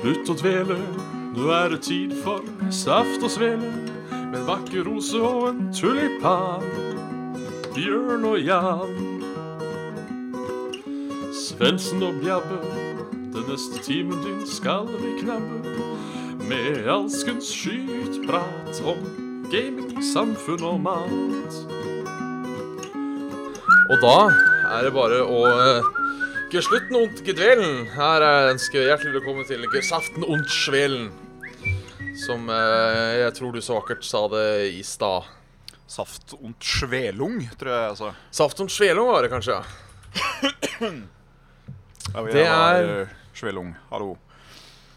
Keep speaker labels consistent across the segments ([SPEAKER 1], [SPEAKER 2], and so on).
[SPEAKER 1] Slutt å dvele, nå er det tid for saft og svele. Med en vakker rose og en tulipan. Bjørn og Jan. Svendsen og Bjabbe, den neste timen din skal vi knabbe. Med alskens skytprat om gaming, samfunn og mat.
[SPEAKER 2] Og da er det bare å eh, geslutten und gedvelen. Her eh, ønsker jeg hjertelig velkommen til gesaften und svelen. Som eh, jeg tror du så vakkert sa det i stad.
[SPEAKER 3] Saft und Schwelung, tror jeg altså.
[SPEAKER 2] Saft und svelung var det kanskje, ja.
[SPEAKER 3] Ja,
[SPEAKER 2] Det
[SPEAKER 3] var,
[SPEAKER 2] er-
[SPEAKER 3] eh, Schwelung, hallo.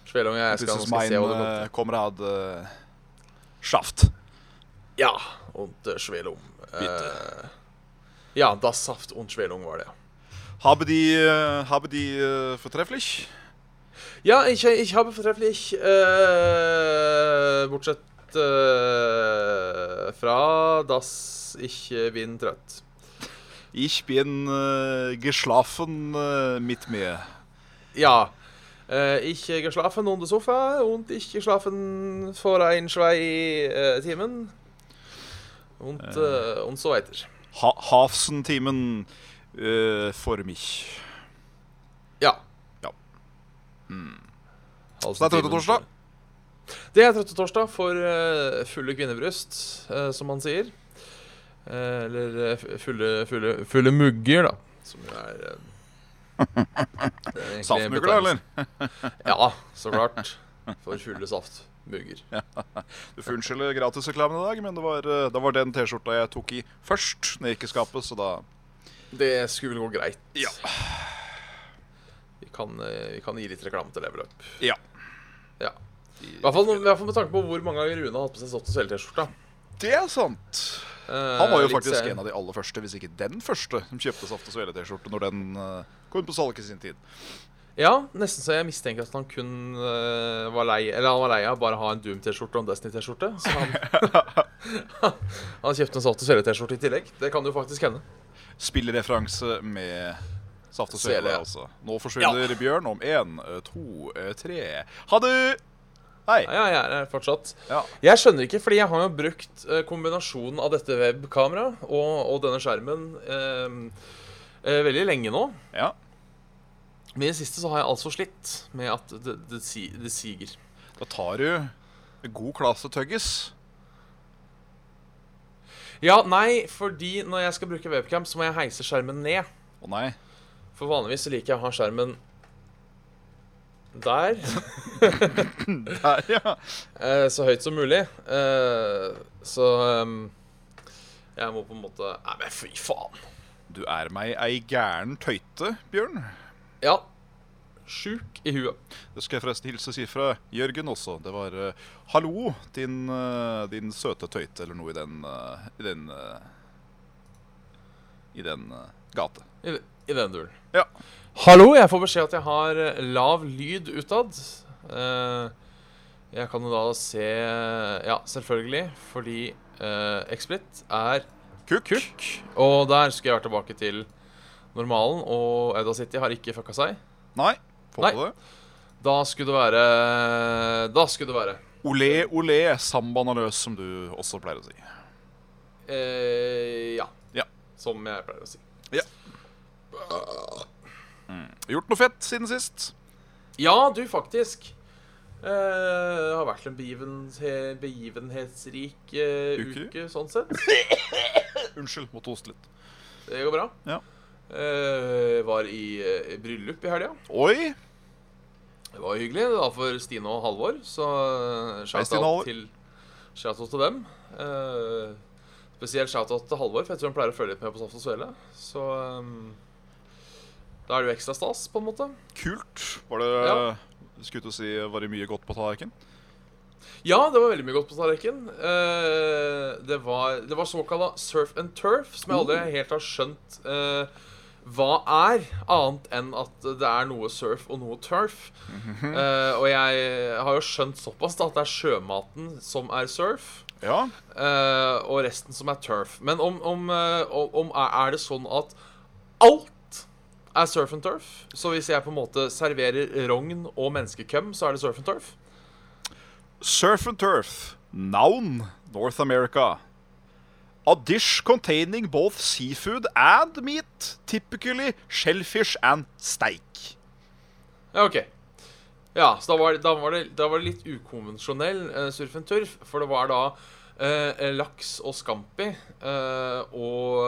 [SPEAKER 2] Svelung, jeg
[SPEAKER 3] This
[SPEAKER 2] skal,
[SPEAKER 3] is
[SPEAKER 2] nå skal jeg
[SPEAKER 3] mein
[SPEAKER 2] se hva det går
[SPEAKER 3] eh, Konrad eh, Schaft.
[SPEAKER 2] Ja, und eh, svelung.
[SPEAKER 3] Bitte.
[SPEAKER 2] Eh, ja, das saft und svelung var det, ja.
[SPEAKER 3] Habe die, eh, habe die eh, fortrefflich?
[SPEAKER 2] Ja, ich, ich habe vortrefflich äh, Bortsett äh, fra dass ich äh, bin trøtt.
[SPEAKER 3] Ich bin eh, geschlafen eh, mit mir.
[SPEAKER 2] Ja. Äh, ich äh, geschlafen unter Sofa und ich geschlafen vor ein, zwei äh, Themen. Und, äh,
[SPEAKER 3] Eh.
[SPEAKER 2] und so weiter.
[SPEAKER 3] Ha Hafsentimen eh, for mich.
[SPEAKER 2] Ja.
[SPEAKER 3] Ja. Mm.
[SPEAKER 2] Altså,
[SPEAKER 3] Så det
[SPEAKER 2] timen-
[SPEAKER 3] er Trøttetorsdag?
[SPEAKER 2] Det er Trøtte torsdag for eh, fulle kvinnebryst, eh, som man sier. Eh, eller eh, fu- fulle, fulle, fulle mugger, da. Som jo er eh, det er egentlig en
[SPEAKER 3] Saftmugler, da, eller?
[SPEAKER 2] betegnelse. Ja, så klart. For fulle saftmugger.
[SPEAKER 3] Du får unnskylde gratisreklamen i dag, men det var, eh, det var den T-skjorta jeg tok i først ned i skapet, så da
[SPEAKER 2] Det skulle vel gå greit.
[SPEAKER 3] Ja.
[SPEAKER 2] Vi kan, eh, vi kan gi litt reklame til Leverøp.
[SPEAKER 3] Ja.
[SPEAKER 2] Ja. I hvert fall, i hvert fall med tanke på hvor mange ganger Rune har hatt på seg Eh, Soft og Sele-T-skjorta.
[SPEAKER 3] Det er sant. Han var jo faktisk
[SPEAKER 2] av
[SPEAKER 3] en av de aller første, hvis ikke den første, som kjøpte Saft og Svele-T-skjorte når den eh, kom på salg i sin tid.
[SPEAKER 2] Ja, nesten så jeg mistenker at han kun øh, var lei Eller han var lei av bare å ha en Doom-T-skjorte og en Destiny-T-skjorte. Så han, han kjøpte en Salt og Svele-T-skjorte i tillegg. Det kan jo faktisk hende.
[SPEAKER 3] Spillreferanse med Saft og
[SPEAKER 2] Svele,
[SPEAKER 3] Svele,
[SPEAKER 2] ja.
[SPEAKER 3] altså. Nå forsvinner Bjørn om én, eh, to, eh, tre Ha det! Hei.
[SPEAKER 2] Ja, ja, jeg er her fortsatt.
[SPEAKER 3] Ja.
[SPEAKER 2] Jeg skjønner ikke, fordi jeg har jo brukt øh, kombinasjonen av dette webkameraet og, og denne skjermen øhm, øh, veldig lenge nå.
[SPEAKER 3] ja.
[SPEAKER 2] Men i det siste så har jeg altså slitt med at det, det, si, det siger.
[SPEAKER 3] Da tar du en god klasse tøggis.
[SPEAKER 2] Ja, nei, fordi når jeg skal bruke webcam, så må jeg heise skjermen ned.
[SPEAKER 3] Å nei.
[SPEAKER 2] For vanligvis så liker jeg å ha skjermen der,
[SPEAKER 3] Der, ja.
[SPEAKER 2] eh, så høyt som mulig. Eh, så ehm, jeg må på en måte Nei, men fy faen.
[SPEAKER 3] Du er meg ei gæren tøyte, Bjørn.
[SPEAKER 2] Ja. Sjuk i huet.
[SPEAKER 3] Det skal jeg forresten hilse og si fra Jørgen også. Det var eh, 'hallo, din, eh, din søte tøyte', eller noe i den eh, I den, eh, i den eh, gate.
[SPEAKER 2] I, i den duren.
[SPEAKER 3] Ja.
[SPEAKER 2] Hallo, jeg får beskjed at jeg har eh, lav lyd utad. Eh, jeg kan jo da se Ja, selvfølgelig, fordi eh, Xsplit er
[SPEAKER 3] Kukk.
[SPEAKER 2] kukk. Og der skulle jeg vært tilbake til normalen, og Edda City har ikke fucka seg.
[SPEAKER 3] Nei. Får
[SPEAKER 2] Nei.
[SPEAKER 3] du det?
[SPEAKER 2] Da skulle det være Da skulle det være
[SPEAKER 3] Olé, olé, sambaen er løs, som du også pleier å si.
[SPEAKER 2] eh, ja.
[SPEAKER 3] Ja.
[SPEAKER 2] Som jeg pleier å si.
[SPEAKER 3] Gjort noe fett siden sist?
[SPEAKER 2] Ja, du, faktisk. Eh, det har vært en begivenhe- begivenhetsrik eh,
[SPEAKER 3] Uke?
[SPEAKER 2] uke. sånn sett.
[SPEAKER 3] Unnskyld, måtte hoste litt.
[SPEAKER 2] Det går bra.
[SPEAKER 3] Ja.
[SPEAKER 2] Eh, var i eh, bryllup i helga.
[SPEAKER 3] Oi!
[SPEAKER 2] Det var hyggelig. Det var for Stine og Halvor, så eh,
[SPEAKER 3] Stine og
[SPEAKER 2] shout-out
[SPEAKER 3] Halvor.
[SPEAKER 2] til, shout til dem. Eh, spesielt shout-out til Halvor, for jeg tror han pleier å følge litt med på Saft og Svele. Så eh, da er det jo ekstra stas, på en måte.
[SPEAKER 3] Kult. Var det Skulle til å si Var det mye godt på tallerkenen?
[SPEAKER 2] Ja, det var veldig mye godt på tallerkenen. Eh, det var, det var såkalla surf and turf, som jeg aldri helt har skjønt eh, hva er, annet enn at det er noe surf og noe turf. Eh, og jeg har jo skjønt såpass da, at det er sjømaten som er surf,
[SPEAKER 3] Ja.
[SPEAKER 2] eh, og resten som er turf. Men om, om, eh, om er- er det sånn at alt er surf and turf. Så hvis jeg på en måte serverer rogn og menneskekøm, så er det surf and turf.
[SPEAKER 3] Surf and turf. Noun. North America. A dish containing both seafood and meat. Typically shellfish and steak.
[SPEAKER 2] Ja, OK. Ja, så da var, da var, det, da var det litt ukonvensjonell eh, surf and turf, for det var da eh, laks og scampi eh, og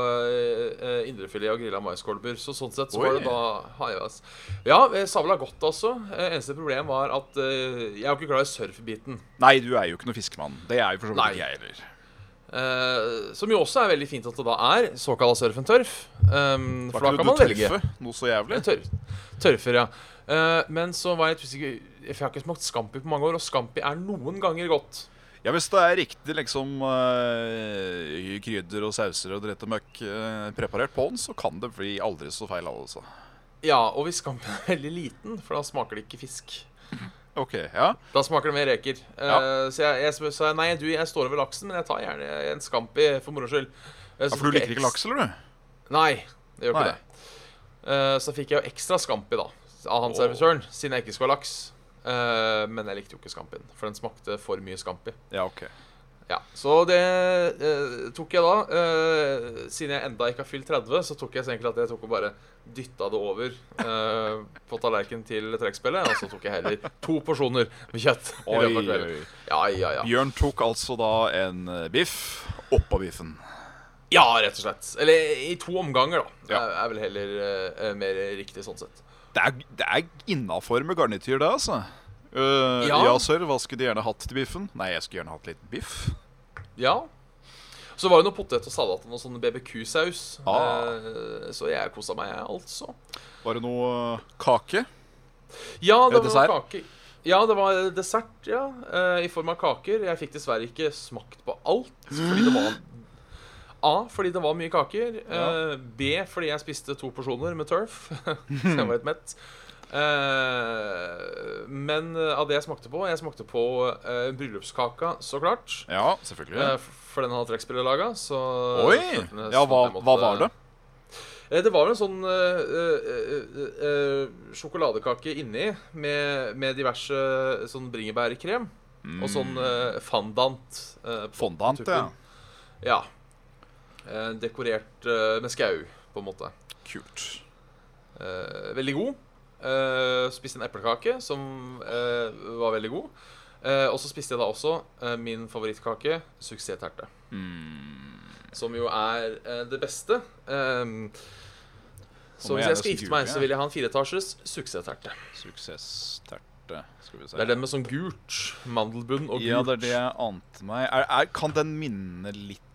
[SPEAKER 2] eh, indrefilet og grilla maiskolber. Så sånn sett så
[SPEAKER 3] Oi.
[SPEAKER 2] var det da haivas. Ja, eh, sabla godt, altså. Eh, eneste problem var at eh, jeg er jo ikke glad i surfbiten.
[SPEAKER 3] Nei, du er jo ikke noe fiskemann. Det er jo for så
[SPEAKER 2] Nei.
[SPEAKER 3] vidt ikke jeg heller.
[SPEAKER 2] Eh, som jo også er veldig fint at det da er såkalla surf and turf. Um, for da
[SPEAKER 3] Var
[SPEAKER 2] kan
[SPEAKER 3] ikke
[SPEAKER 2] man
[SPEAKER 3] du
[SPEAKER 2] velge.
[SPEAKER 3] tørfe noe så jævlig?
[SPEAKER 2] Tørr, tørrfør, ja. Eh, men så var jeg litt usikker For jeg har ikke smakt Scampi på mange år, og Scampi er noen ganger godt.
[SPEAKER 3] Ja, hvis det er riktig liksom eh, krydder og sauser og dritt og møkk eh, preparert på den, så kan det bli aldri så feil, altså.
[SPEAKER 2] Ja, og hvis Scampien er veldig liten, for da smaker det ikke fisk.
[SPEAKER 3] OK, ja.
[SPEAKER 2] Da smaker det mer reker. Eh,
[SPEAKER 3] Ja.
[SPEAKER 2] Så jeg, jeg spør- sa nei, du, jeg står over laksen, men jeg tar gjerne en Scampi for moro skyld. Eh, så
[SPEAKER 3] ja
[SPEAKER 2] fikk
[SPEAKER 3] for du
[SPEAKER 2] jeg
[SPEAKER 3] liker ikke
[SPEAKER 2] eks-
[SPEAKER 3] laks, eller du?
[SPEAKER 2] Nei, det gjør
[SPEAKER 3] Nei.
[SPEAKER 2] ikke det. Eh, så fikk jeg jo ekstra Scampi, da, av han
[SPEAKER 3] Åh.
[SPEAKER 2] servitøren, siden jeg ikke skulle ha laks. Eh, men jeg likte jo ikke Scampien, for den smakte for mye Scampi.
[SPEAKER 3] Ja, OK.
[SPEAKER 2] Ja, Så det eh, tok jeg da eh, Siden jeg enda ikke har fylt 30, så tok jeg så egentlig at jeg tok og bare dytta det over eh, på tallerkenen til trekkspillet. Og så tok jeg heller to porsjoner med kjøtt. i
[SPEAKER 3] Oi,
[SPEAKER 2] løpet av kvelden.
[SPEAKER 3] oi.
[SPEAKER 2] Ja, ja, ja.
[SPEAKER 3] Bjørn tok altså da en eh, biff oppå biffen.
[SPEAKER 2] ja, rett og slett. Eller i to omganger, da.
[SPEAKER 3] Ja.
[SPEAKER 2] Er, er vel heller eh, mer riktig sånn sett.
[SPEAKER 3] Det er, det er innafor med garnityr, det, altså. Eh, ja.
[SPEAKER 2] Ja.
[SPEAKER 3] sir, hva skulle de gjerne hatt til biffen? Nei, jeg skulle gjerne hatt litt biff.
[SPEAKER 2] Ja. Så var det noe potet og salat og noe sånn BBQ-saus.
[SPEAKER 3] Ah.
[SPEAKER 2] Eh, så jeg kosa meg, jeg, altså.
[SPEAKER 3] Var det noe kake?
[SPEAKER 2] Ja, det
[SPEAKER 3] Eller
[SPEAKER 2] var
[SPEAKER 3] dessert?
[SPEAKER 2] kake. Ja, det var dessert, ja. eh, I form av kaker. Jeg fikk dessverre ikke smakt på alt. Fordi det var A. Fordi det var mye kaker. eh, B. Fordi jeg spiste to porsjoner med turf. Så jeg var litt mett. Eh, men eh, av det jeg smakte på Jeg smakte på eh, bryllupskaka, så klart.
[SPEAKER 3] Ja, selvfølgelig.
[SPEAKER 2] Eh, for den hadde trekkspillet laga, så
[SPEAKER 3] Oi!
[SPEAKER 2] følte jeg
[SPEAKER 3] Ja, hva,
[SPEAKER 2] at jeg måtte-
[SPEAKER 3] hva var det?
[SPEAKER 2] Eh, Det var vel en sånn eh, eh, eh, eh, sjokoladekake inni med, med diverse sånn bringebærkrem. Og sånn
[SPEAKER 3] Mm.
[SPEAKER 2] eh, fandant. eh, på
[SPEAKER 3] Fondant, ja.
[SPEAKER 2] tuppen. ja. Eh, dekorert eh, med skau, på en måte.
[SPEAKER 3] Kult.
[SPEAKER 2] Eh, veldig god. Eh, spiste en eplekake som eh, var veldig god. Eh, og så spiste jeg da også eh, min favorittkake, suksessterte.
[SPEAKER 3] Mm.
[SPEAKER 2] Som jo er eh, det beste. Ehm, så hvis
[SPEAKER 3] må jeg
[SPEAKER 2] jeg
[SPEAKER 3] nesten
[SPEAKER 2] skal gifte meg,
[SPEAKER 3] google,
[SPEAKER 2] så vil jeg ha en fireetasjes suksessterte.
[SPEAKER 3] Suksessterte, skal vi si.
[SPEAKER 2] Det er den med sånn gult. Mandelbunn og gult.
[SPEAKER 3] Ja, det er det jeg ante meg. Er, er, kan den minne litt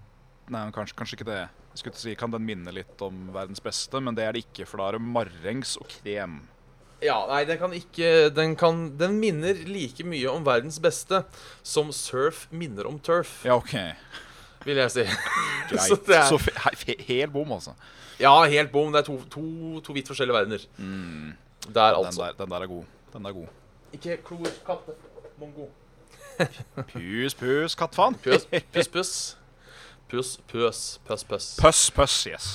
[SPEAKER 3] Nei, men kanskje, kanskje ikke det. Jeg skulle til å si, Kan den minne litt om verdens beste, men det er det ikke, for da er det marengs og krem.
[SPEAKER 2] Ja, nei, den kan ikke Den, kan, den minner like mye om verdens beste som surf minner om turf,
[SPEAKER 3] Ja, OK.
[SPEAKER 2] vil jeg si.
[SPEAKER 3] Greit.
[SPEAKER 2] Så
[SPEAKER 3] Så,
[SPEAKER 2] det er-
[SPEAKER 3] fe- he, he, hel bom, altså.
[SPEAKER 2] Ja, helt bom. Det er to, to, to vidt forskjellige verdener. Der,
[SPEAKER 3] Den
[SPEAKER 2] altså.
[SPEAKER 3] der, den der er god. Den er god.
[SPEAKER 2] Ikke klor, katte, mongo.
[SPEAKER 3] Pus, pus, kattfaen.
[SPEAKER 2] Pøs, pøs, pøs. Pøs, pøs, pøs, pøs.
[SPEAKER 3] Pøss, pøss, yes.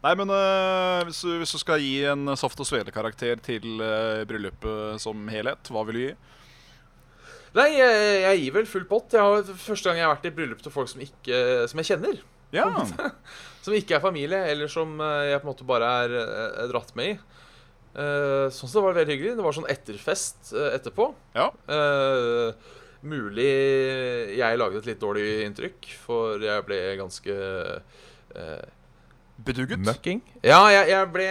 [SPEAKER 3] Nei, men øh, hvis, du, hvis du skal gi en saft og svele-karakter til øh, bryllupet som helhet, hva vil du gi?
[SPEAKER 2] Nei, jeg, jeg gir vel full pott. Jeg har, første gang jeg har vært i bryllup til folk som, ikke, som jeg kjenner.
[SPEAKER 3] Ja,
[SPEAKER 2] Som ikke er familie, eller som eh, jeg på en måte bare er, eh, dratt med i. Eh, sånn sett var det veldig hyggelig. Det var sånn etterfest eh, etterpå.
[SPEAKER 3] Ja.
[SPEAKER 2] Eh, mulig jeg lagde et litt dårlig inntrykk, for jeg ble ganske eh,
[SPEAKER 3] Bedugget?
[SPEAKER 2] Møkking? Ja, jeg, jeg ble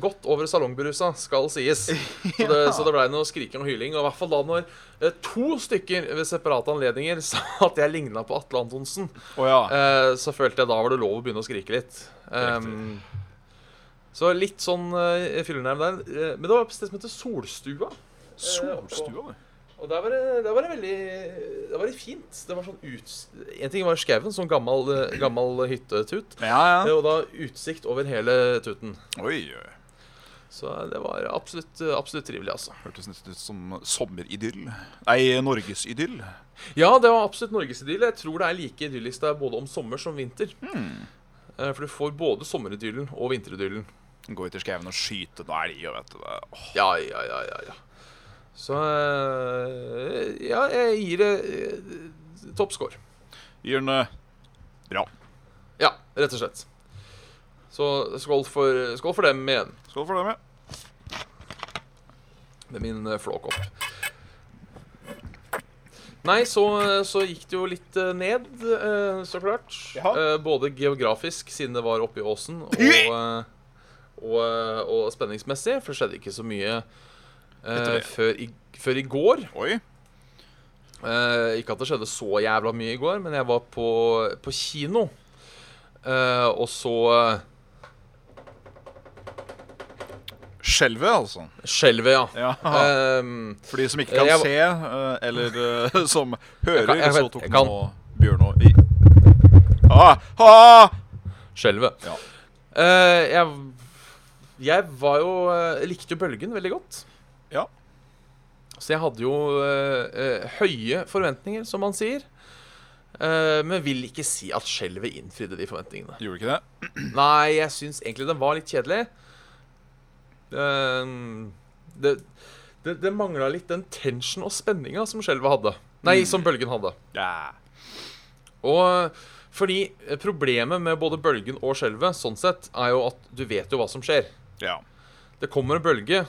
[SPEAKER 2] godt over salongberusa, skal sies. Så det, så det blei noe skriking og hyling. Og i hvert fall da når eh, to stykker ved separate anledninger sa at jeg ligna på Atle Antonsen,
[SPEAKER 3] Å ja.
[SPEAKER 2] eh, så følte jeg da var det lov å begynne å skrike litt. Ehm, så litt sånn uh, fyllenerv der. Eh, men det var på et sted som heter Solstua.
[SPEAKER 3] Solstua, du.
[SPEAKER 2] Og der var det, der var det veldig Der var det fint. Det var sånn ut... En ting var skauen, sånn gammel, eh, gammel hyttetut.
[SPEAKER 3] Ja,
[SPEAKER 2] eh,
[SPEAKER 3] ja.
[SPEAKER 2] Og da utsikt over hele tuten.
[SPEAKER 3] Oi, oi.
[SPEAKER 2] Så det var absolutt, absolutt trivelig, altså.
[SPEAKER 3] Hørtes nesten ut som sommeridyll. Nei, norgesidyll.
[SPEAKER 2] Ja, det var absolutt norgesidyll. Jeg tror det er like Mm. idyllisk der både om sommer som vinter. Eh, For du får både sommeridyllen og vinteridyllen.
[SPEAKER 3] Gå ut i skauen og skyte noe elg og vet du det. Åh,
[SPEAKER 2] Ja, ja, ja, ja, ja. Så eh, Ja, jeg gir det eh, toppscore.
[SPEAKER 3] Gir den eh, bra.
[SPEAKER 2] Ja, rett og slett. Så skål for, skål for dem igjen,
[SPEAKER 3] Skål for det med.
[SPEAKER 2] med min eh, flåkopp. Nei, så, så gikk det jo litt eh, ned, eh, så klart.
[SPEAKER 3] Ja.
[SPEAKER 2] Eh, Både geografisk, siden det var oppe i åsen, og, eh, og, eh, og spenningsmessig, for det skjedde ikke så mye eh,
[SPEAKER 3] det.
[SPEAKER 2] før, i, før i går.
[SPEAKER 3] Oi.
[SPEAKER 2] Eh, ikke at det skjedde så jævla mye i går, men jeg var på, på kino. Eh, og så eh,
[SPEAKER 3] Skjelvet, altså.
[SPEAKER 2] skjelvet, ja.
[SPEAKER 3] Ja.
[SPEAKER 2] Ehm,
[SPEAKER 3] For de som ikke kan
[SPEAKER 2] Jeg-
[SPEAKER 3] se, eh, eller eh, som hører,
[SPEAKER 2] kan- jeg
[SPEAKER 3] så
[SPEAKER 2] kan-
[SPEAKER 3] tok
[SPEAKER 2] jeg
[SPEAKER 3] nå Bjørn og i. Ah, ah!
[SPEAKER 2] skjelvet.
[SPEAKER 3] Ja.
[SPEAKER 2] Eh, jeg, jeg var jo eh, Likte jo bølgen veldig godt.
[SPEAKER 3] Ja.
[SPEAKER 2] Så jeg hadde jo eh, eh, høye forventninger, som man sier. Eh, men vil ikke si at skjelvet innfridde de forventningene.
[SPEAKER 3] Gjorde ikke det?
[SPEAKER 2] Nei, jeg syns egentlig den var litt kjedelig. Ehm, det det, det mangla litt den tension og spenninga som skjelvet hadde. Nei, som bølgen hadde.
[SPEAKER 3] Ja.
[SPEAKER 2] Og fordi eh, problemet med både bølgen og skjelvet sånn sett, er jo at du vet jo hva som skjer.
[SPEAKER 3] ja.
[SPEAKER 2] Det kommer en bølge.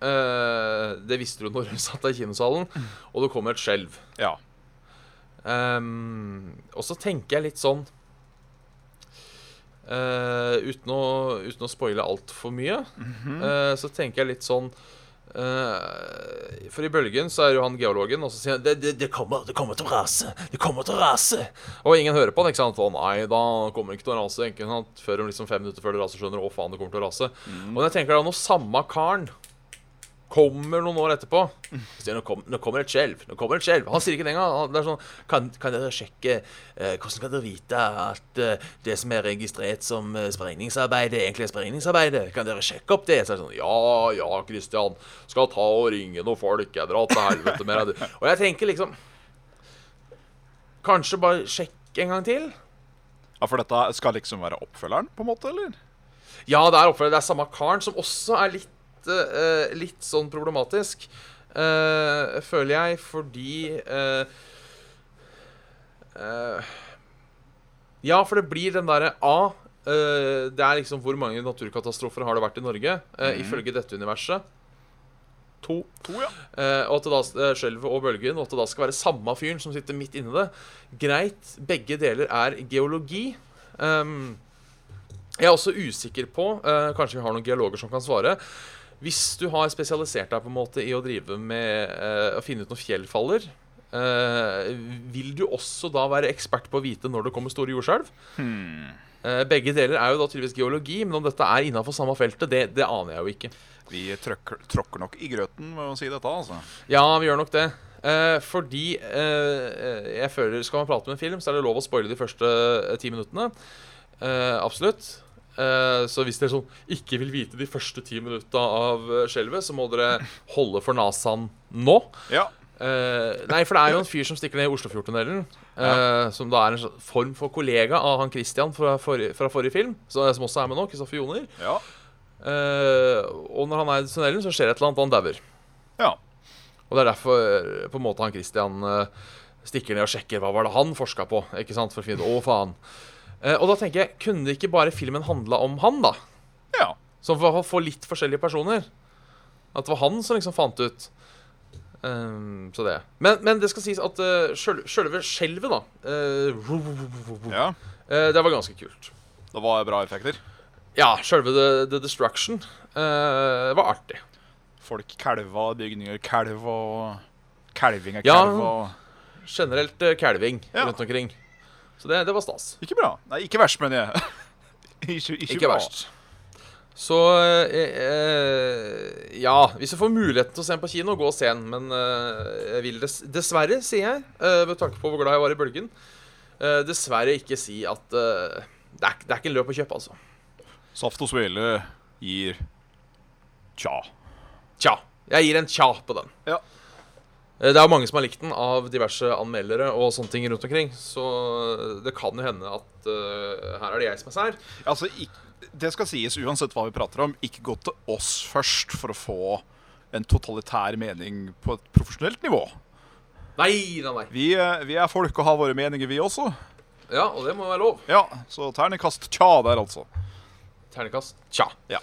[SPEAKER 2] eh, det visste du når du satt deg i kinosalen. Og det kommer et skjelv.
[SPEAKER 3] Ja.
[SPEAKER 2] Ehm, og så tenker jeg litt sånn eh, uten, å, uten å spoile altfor mye, eh, så tenker jeg litt sånn eh, For i bølgen så er jo han geologen, og så sier han det, det, det, kommer, 'Det kommer til å rase! Det kommer til å rase!' Og ingen hører på han, ikke sant? Å nei, da kommer det ikke til å rase. Ikke sant? Før om liksom fem minutter før det raser, skjønner du å faen, det kommer til å rase. Og når jeg tenker da, når samme karen kommer noen år etterpå så sier han, nå, kom, nå kommer et skjelv. Nå kommer et skjelv. Han sier ikke det engang. Han- Det er sånn Kan, kan dere sjekke eh, Hvordan kan dere vite at eh, det som er registrert som eh, sprengningsarbeid, det egentlig er sprengningsarbeid? Kan dere sjekke opp det? Så er det sånn Ja ja, Christian. Skal ta og ringe noen folk. Jeg drar til helvete med deg. Og jeg tenker liksom Kanskje bare sjekk en gang til?
[SPEAKER 3] ja, for dette skal liksom være oppfølgeren, på en måte, eller?
[SPEAKER 2] Ja, det er oppfølgelig. Det er samme karen, som også er litt, eh, eh, litt sånn problematisk, eh, føler jeg, fordi eh, eh, Ja, for det blir den derre A. eh, det er liksom hvor mange naturkatastrofer har det vært i Norge, eh, ifølge dette universet. To.
[SPEAKER 3] To, ja.
[SPEAKER 2] Eh, og at det da eh, skjelvet og bølgen, og at det da skal være samme fyren som sitter midt inni det. Greit, begge deler er geologi. Ehm, jeg er også usikker på, eh, kanskje vi har noen geologer som kan svare Hvis du har spesialisert deg på en måte i å drive med eh, å finne ut når fjell faller, eh, vil du også da være ekspert på å vite når det kommer store jordskjelv?
[SPEAKER 3] Hmm.
[SPEAKER 2] Eh, begge deler er jo da tydeligvis geologi, men om dette er innafor samme feltet, det, det aner jeg jo ikke.
[SPEAKER 3] Vi trøkker, tråkker nok i grøten med å si dette, altså.
[SPEAKER 2] Ja, vi gjør nok det. Eh, fordi eh, jeg føler Skal man prate om en film, så er det lov å spoile de første eh, ti minuttene. Eh, absolutt. Eh, så hvis dere sånn ikke vil vite de første ti minutta av eh, skjelvet, så må dere holde for nasaen nå.
[SPEAKER 3] Ja.
[SPEAKER 2] Eh, nei, for det er jo en fyr som stikker ned i Oslofjordtunnelen. eh, Som da er en sånn form for kollega av han Christian fra, forrige- fra forrige film, så, som også er med nå, Kristoffer Joner.
[SPEAKER 3] Ja.
[SPEAKER 2] Eh, og når han er i tunnelen, så skjer et eller annet, og han dauer.
[SPEAKER 3] Ja.
[SPEAKER 2] Og det er derfor eh, på en måte han Christian eh, stikker ned og sjekker hva var det han forska på. ikke sant, for å finne, å faen. Eh, Og da tenker jeg, kunne ikke bare filmen handla om han, da?
[SPEAKER 3] ja.
[SPEAKER 2] Så for å få litt forskjellige personer. At det var han som liksom fant ut. Ehm, så det. Men, men det skal sies at eh, sjøl- sjølve skjelvet, da eh, ru- ru- ru- ru- ru-
[SPEAKER 3] Ja.
[SPEAKER 2] eh, Det var ganske kult.
[SPEAKER 3] Det var bra effekter.
[SPEAKER 2] Ja, sjølve The, the Destruction eh, var artig.
[SPEAKER 3] Folk kalva, bygninger kalva og Kalving av
[SPEAKER 2] Ja.
[SPEAKER 3] kalva.
[SPEAKER 2] Generelt eh, kalving
[SPEAKER 3] Ja.
[SPEAKER 2] rundt omkring. Så det, det var stas.
[SPEAKER 3] Ikke bra. Nei, ikke verst, mener jeg. ikke, ikke,
[SPEAKER 2] Ikke
[SPEAKER 3] bra.
[SPEAKER 2] verst. Så eh, eh, Ja, hvis du får muligheten til å se den på kino, gå og se den. Men eh, jeg vil dess dessverre, sier jeg, eh, med tanke på hvor glad jeg var i Bølgen, eh, dessverre ikke si at eh, det, er, det er ikke en løp å kjøpe, altså.
[SPEAKER 3] Saft og svele gir Tja.
[SPEAKER 2] Tja. Jeg gir en tja på den.
[SPEAKER 3] Ja.
[SPEAKER 2] Eh, Det er jo mange som har likt den av diverse anmeldere og sånne ting rundt omkring. Så det kan jo hende at eh, her er det jeg som er sær.
[SPEAKER 3] Altså, ik det skal sies, uansett hva vi prater om, ikke gå til oss først for å få en totalitær mening på et profesjonelt nivå.
[SPEAKER 2] Nei, nei, nei.
[SPEAKER 3] Vi, eh, vi er folk og har våre meninger, vi også.
[SPEAKER 2] Ja, og det må være lov.
[SPEAKER 3] Ja, Så terningkast tja der, altså.
[SPEAKER 2] Ternekast. Tja.
[SPEAKER 3] Ja.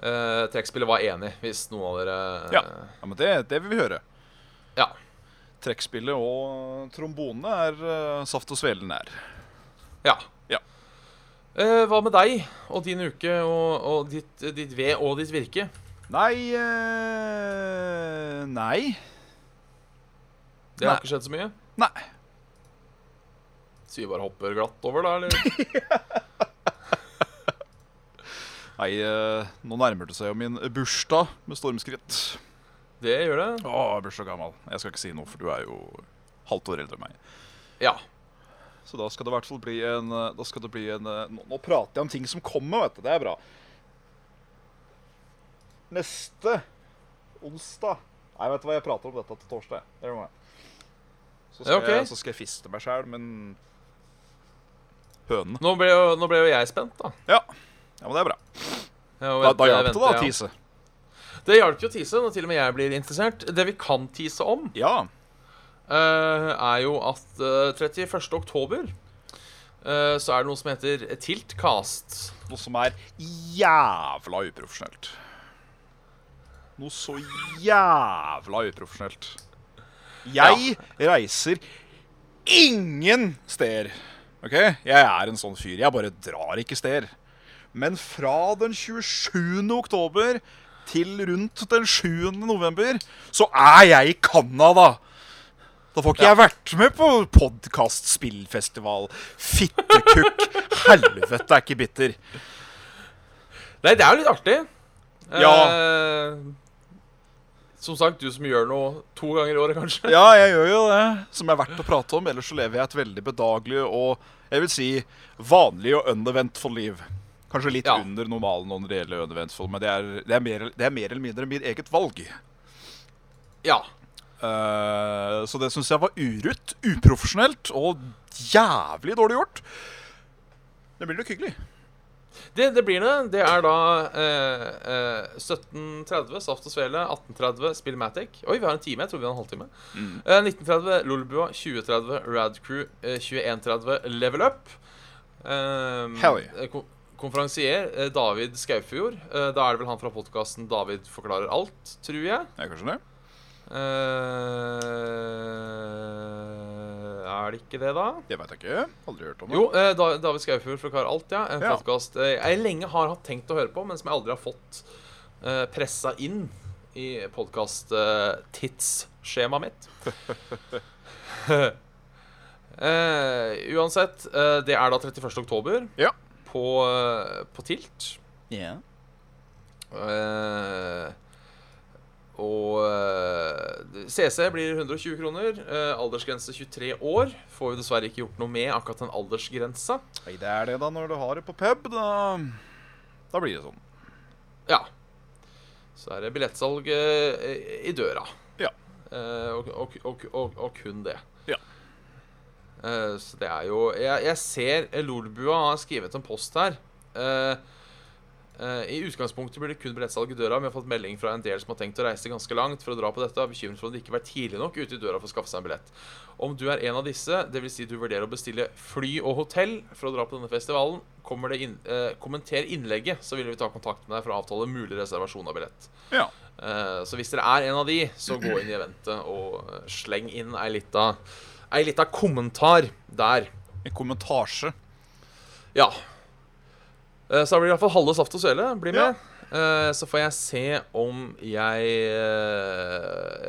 [SPEAKER 2] Eh, trekkspillet var enig, hvis noen av dere eh,
[SPEAKER 3] Ja, ja men det, det vil vi høre.
[SPEAKER 2] ja.
[SPEAKER 3] Trekkspillet og trombonene er eh, saft og svele nær.
[SPEAKER 2] Ja.
[SPEAKER 3] Ja.
[SPEAKER 2] Eh, hva med deg og din uke og, og ditt, ditt ved og ditt virke?
[SPEAKER 3] Nei eh, Nei.
[SPEAKER 2] Det har
[SPEAKER 3] Nei.
[SPEAKER 2] ikke skjedd så mye?
[SPEAKER 3] Nei.
[SPEAKER 2] Så vi bare hopper glatt over, da? eller?
[SPEAKER 3] Nei, eh, Nå nærmer det seg jo min bursdag med stormskritt.
[SPEAKER 2] Det gjør det?
[SPEAKER 3] Å, jeg blir så gammel. Jeg skal ikke si noe, for du er jo halvt år eldre enn meg.
[SPEAKER 2] Ja.
[SPEAKER 3] Så da skal det i hvert fall bli en eh, Da skal det bli en eh, Nå, nå prater jeg om ting som kommer, vet du. Det er bra. Neste onsdag Nei, vet du hva, jeg prater om dette til torsdag. Det må jeg. Så skal,
[SPEAKER 2] Ja, ok.
[SPEAKER 3] jeg, så skal jeg fiste meg sjæl, men Hønene.
[SPEAKER 2] Nå ble, jo, nå ble jo jeg spent, da.
[SPEAKER 3] Ja. ja, men det er bra.
[SPEAKER 2] Jeg
[SPEAKER 3] Da,
[SPEAKER 2] venter-
[SPEAKER 3] da hjalp det,
[SPEAKER 2] venter,
[SPEAKER 3] da,
[SPEAKER 2] ja.
[SPEAKER 3] å tise.
[SPEAKER 2] Det hjalp jo å tise, når til og med jeg blir interessert. Det vi kan tise om,
[SPEAKER 3] Ja.
[SPEAKER 2] eh, er jo at eh, 31. oktober eh, så er det noe som heter Tiltcast.
[SPEAKER 3] Noe som er jævla uprofesjonelt. Noe så jævla uprofesjonelt. Jeg reiser ingen steder. OK? Jeg er en sånn fyr. Jeg bare drar ikke steder. Men fra den 27. oktober til rundt den 7. november så er jeg i Canada. Da får ikke jeg vært med på podkast, spillfestival, fittekukk. Helvete, jeg er ikke bitter.
[SPEAKER 2] Nei, det er jo litt artig. Eh, som sagt, du som gjør noe to ganger i året, kanskje.
[SPEAKER 3] Ja, jeg gjør jo det. Som er verdt å prate om. Ellers så lever jeg et veldig bedagelig og jeg vil si vanlig og uneventful liv. Kanskje litt
[SPEAKER 2] Ja.
[SPEAKER 3] under normalen og når det gjelder uneventful, men det er, det, er mer, det er mer eller mindre mitt eget valg.
[SPEAKER 2] Ja.
[SPEAKER 3] Eh, så det syns jeg var urutt, uprofesjonelt og jævlig dårlig gjort. Det blir nok hyggelig.
[SPEAKER 2] Det, det blir det. Det er da eh, eh, 1730 Saft og Svele, 1830 Spillmatic Oi, vi har en time. Jeg trodde vi hadde en halvtime.
[SPEAKER 3] Mm.
[SPEAKER 2] Eh, 1930 Lolbua, 2030 Radcrew, eh, 2130 Level Up. Um,
[SPEAKER 3] Hell yeah.
[SPEAKER 2] Konferansier eh, David Skaufjord. Eh, da er det vel han fra podkasten 'David forklarer alt', tror jeg.
[SPEAKER 3] Jeg kan skjønne.
[SPEAKER 2] Eh, er det ikke det, da?
[SPEAKER 3] Det veit jeg ikke. Aldri hørt om det.
[SPEAKER 2] Jo, eh, Da- David Skaufjord forklarer alt, ja. En
[SPEAKER 3] Ja.
[SPEAKER 2] podcast eh, jeg lenge har hatt tenkt å høre på, men som jeg aldri har fått eh, pressa inn i podkast-tidsskjemaet mitt. eh, uansett, eh, det er da 31. oktober
[SPEAKER 3] Ja.
[SPEAKER 2] på, eh, på Tilt. Eh, og eh, CC blir 120 kroner. Eh, aldersgrense 23 år. Får vi dessverre ikke gjort noe med akkurat den aldersgrensa.
[SPEAKER 3] Nei, det er det, da. Når du har det på pub, da, da blir det sånn.
[SPEAKER 2] Ja. Så er det billettsalg eh, i døra.
[SPEAKER 3] Ja.
[SPEAKER 2] Eh, og, og, og, og, og kun det.
[SPEAKER 3] Ja.
[SPEAKER 2] Eh, så det er jo Jeg, jeg ser eh, Lolbua har skrevet en post her. Eh, eh, I utgangspunktet blir det kun billettsalg i døra. men Vi har fått melding fra en del som har tenkt å reise ganske langt for å dra på dette. og Er bekymret for om de ikke har vært tidlig nok ute i døra for å skaffe seg en billett. Om du er en av disse, dvs. Si du vurderer å bestille fly og hotell for å dra på denne festivalen, kommer det inn, eh, kommenter innlegget, så vil vi ta kontakt med deg for å avtale mulig reservasjon av billett.
[SPEAKER 3] Ja.
[SPEAKER 2] Eh, så hvis dere er en av de, så gå inn i eventet og eh, sleng inn ei lita, ei lita kommentar der.
[SPEAKER 3] En kommentasje.
[SPEAKER 2] Ja. Eh, Så da blir det iallfall halve saft og svele. Bli med. Eh, Så får jeg se om jeg eh,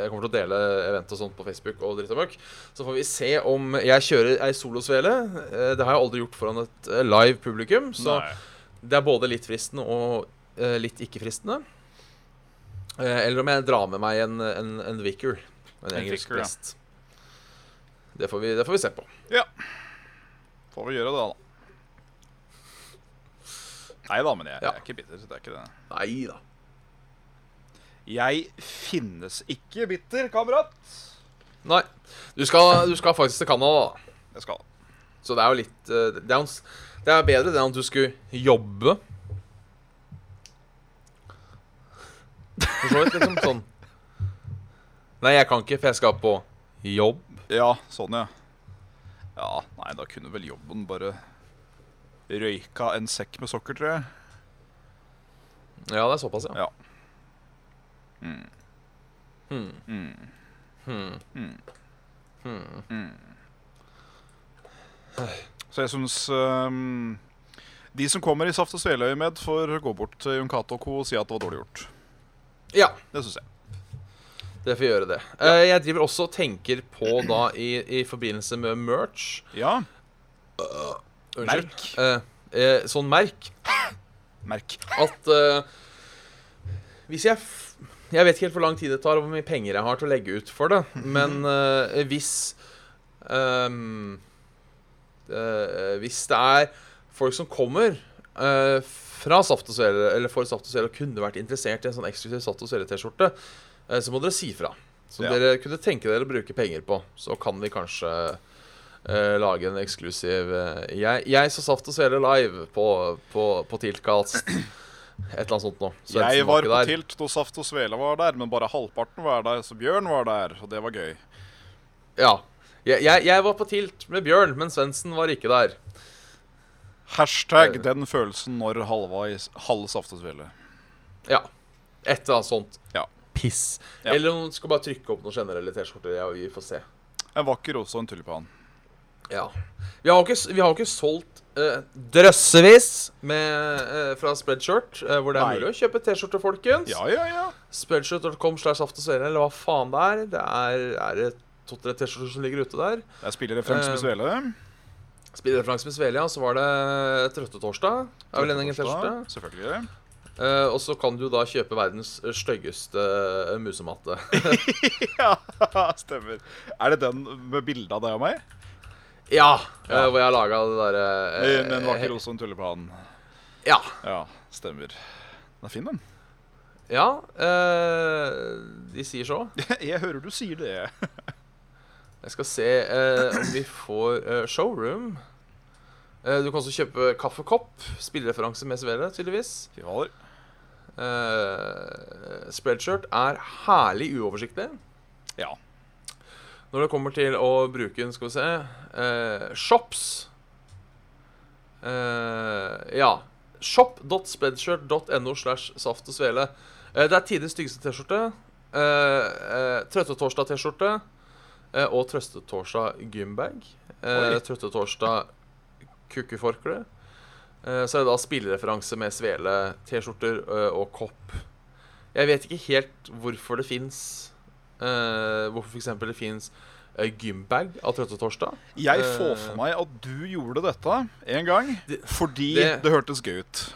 [SPEAKER 2] Jeg kommer til å dele event og sånt på Facebook og dritt og møkk. Så får vi se om jeg kjører ei solosvele. Eh, Det har jeg aldri gjort foran et eh, live publikum, så
[SPEAKER 3] Nei.
[SPEAKER 2] det er både litt fristende og eh, litt ikke-fristende. Eh, Eller om jeg drar med meg en, en, en vicar. En
[SPEAKER 3] En
[SPEAKER 2] engelsk
[SPEAKER 3] vicar, ja.
[SPEAKER 2] prest. Det får, vi, det får vi se på.
[SPEAKER 3] Får vi gjøre det, da. Nei da, men jeg,
[SPEAKER 2] Ja.
[SPEAKER 3] jeg er ikke bitter. Det er ikke det.
[SPEAKER 2] Nei da.
[SPEAKER 3] Jeg finnes ikke bitter, kamerat.
[SPEAKER 2] Nei. Du skal, du skal faktisk til Canada, da.
[SPEAKER 3] Jeg skal.
[SPEAKER 2] Så det er jo litt eh, Det er, jo en s- det er bedre det enn at du skulle jobbe for så vidt. Liksom sånn Nei, jeg kan ikke, for jeg skal på jobb.
[SPEAKER 3] Ja, sånn, ja. Ja, nei, da kunne vel jobben bare røyka en sekk med sokker, tror jeg.
[SPEAKER 2] Ja, det er såpass, ja.
[SPEAKER 3] Ja. Mm.
[SPEAKER 2] Hmm.
[SPEAKER 3] Mm.
[SPEAKER 2] Hmm.
[SPEAKER 3] Mm.
[SPEAKER 2] Hmm.
[SPEAKER 3] Så jeg syns ehm, de som kommer i Saft og Sveløy med, får gå bort til Jon Cato og co. og si at det var dårlig gjort.
[SPEAKER 2] Ja,
[SPEAKER 3] Det syns jeg.
[SPEAKER 2] det får gjøre det. Eh, jeg driver også og tenker på da i, i forbindelse med merch
[SPEAKER 3] Ja,
[SPEAKER 2] Unnskyld. Eh, eh, sånn merk
[SPEAKER 3] merk.
[SPEAKER 2] at eh, Hvis jeg f Jeg vet ikke helt hvor lang tid det tar, og hvor mye penger jeg har til å legge ut for det,
[SPEAKER 3] Mhm.
[SPEAKER 2] men eh, hvis ehm, eh, Hvis det er folk som kommer eh, fra Saft og Svele, eller for Saft og Svele, og kunne vært interessert i en sånn eksklusiv Saft og Svele-T-skjorte, eh, så må dere si fra. Så
[SPEAKER 3] Ja.
[SPEAKER 2] dere kunne tenke dere å bruke penger på, så kan vi kanskje eh, lage en eksklusiv eh, jeg, jeg så Saft og Svele live på, på, på Tiltkast. Et eller annet sånt nå. Svendsen
[SPEAKER 3] Jeg var
[SPEAKER 2] ikke
[SPEAKER 3] på
[SPEAKER 2] der.
[SPEAKER 3] tilt da Saft og Svele var der, men bare halvparten var der, så Bjørn var der, og det var gøy.
[SPEAKER 2] Ja. Jeg, jeg, jeg var på tilt med Bjørn, men Svendsen var ikke der.
[SPEAKER 3] Hashtag
[SPEAKER 2] Eh.
[SPEAKER 3] 'den følelsen når halva i s- halv Saft og Svele'.
[SPEAKER 2] Ja. Et eller annet sånt.
[SPEAKER 3] Ja.
[SPEAKER 2] Piss.
[SPEAKER 3] Ja.
[SPEAKER 2] Eller om du skal bare trykke opp noen generelle T-skjorter. Ja, vi får se.
[SPEAKER 3] En vakker rose og en tulipan.
[SPEAKER 2] Ja. Vi har jo ikke, s- vi har jo ikke solgt eh, drøssevis med, eh, fra Spreadshirt, eh, hvor det er
[SPEAKER 3] Nei.
[SPEAKER 2] mulig å kjøpe T-skjorter, folkens.
[SPEAKER 3] Ja, ja, ja.
[SPEAKER 2] Spreadshirt.com slash Saft og Svele, eller hva faen det er. Det er, er det to-tre T-skjorter som ligger ute der.
[SPEAKER 3] Jeg spiller referanse
[SPEAKER 2] Eh,
[SPEAKER 3] med Svele.
[SPEAKER 2] Spillereferanse med Svelia, så var det Trøttetorsdag. Er vel en egen T-skjorte.
[SPEAKER 3] Torsdag, Selvfølgelig.
[SPEAKER 2] Eh, og så kan du da kjøpe verdens styggeste eh, musematte.
[SPEAKER 3] Ja, stemmer. Er det den med bilde av deg og meg?
[SPEAKER 2] ja!
[SPEAKER 3] Ja.
[SPEAKER 2] eh, hvor jeg har laga det derre
[SPEAKER 3] Eh, Med en vakker rose og en tulipan.
[SPEAKER 2] Ja.
[SPEAKER 3] Ja, stemmer. Den er fin, den.
[SPEAKER 2] ja eh, de sier så.
[SPEAKER 3] Jeg hører du sier det.
[SPEAKER 2] Jeg skal se eh, om vi får eh, showroom. Eh, du kan også kjøpe kaffekopp. Spillereferanse med Svele, tydeligvis.
[SPEAKER 3] Fy fader.
[SPEAKER 2] Eh, spreadshirt er herlig uoversiktlig.
[SPEAKER 3] Ja.
[SPEAKER 2] Når det kommer til å bruke den, skal vi se eh, Shops. Eh, ja. Shop.spreadshirt.no slash saft og svele. Eh, det er tidenes styggeste T-skjorte. Eh, eh, Trøttetorsdag-T-skjorte. Eh, og Trøstetorsdag gymbag. Eh,
[SPEAKER 3] Oi.
[SPEAKER 2] Trøttetorsdag kukkeforkle. Eh, så er det da spillereferanse med svele, T-skjorter eh, og kopp. Jeg vet ikke helt hvorfor det fins. Eh, hvorfor f.eks. det fins eh, gymbag av Trøttetorsdag.
[SPEAKER 3] Jeg
[SPEAKER 2] Eh,
[SPEAKER 3] får for meg at du gjorde dette en gang
[SPEAKER 2] Det-
[SPEAKER 3] fordi det,
[SPEAKER 2] det-
[SPEAKER 3] hørtes gøy ut.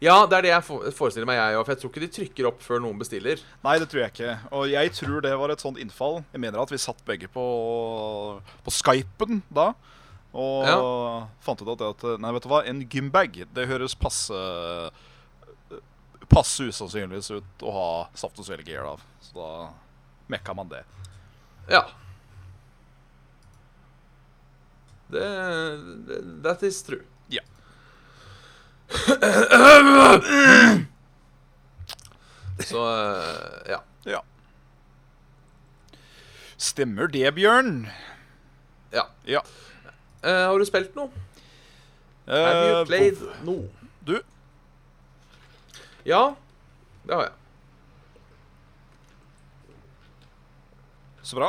[SPEAKER 2] Ja, det er det jeg fo- forestiller meg, jeg òg. For jeg tror ikke de trykker opp før noen bestiller.
[SPEAKER 3] Nei, det tror jeg ikke. Og jeg tror det var et sånt innfall. Jeg mener at vi satt begge på, på Skypen da. Og fant ut at, det at Nei, vet du hva, en gymbag, det høres passe Passe usannsynligvis ut å ha saft og svelgeer av. Så da mekka man det.
[SPEAKER 2] Ja. Det, det That is true.
[SPEAKER 3] Ja.
[SPEAKER 2] Så eh, ja.
[SPEAKER 3] Ja. Stemmer det, Bjørn?
[SPEAKER 2] ja.
[SPEAKER 3] Ja.
[SPEAKER 2] Eh, har du spilt noe? Have
[SPEAKER 3] Eh,
[SPEAKER 2] you played noe?
[SPEAKER 3] Du,
[SPEAKER 2] Ja, det har jeg.
[SPEAKER 3] så bra.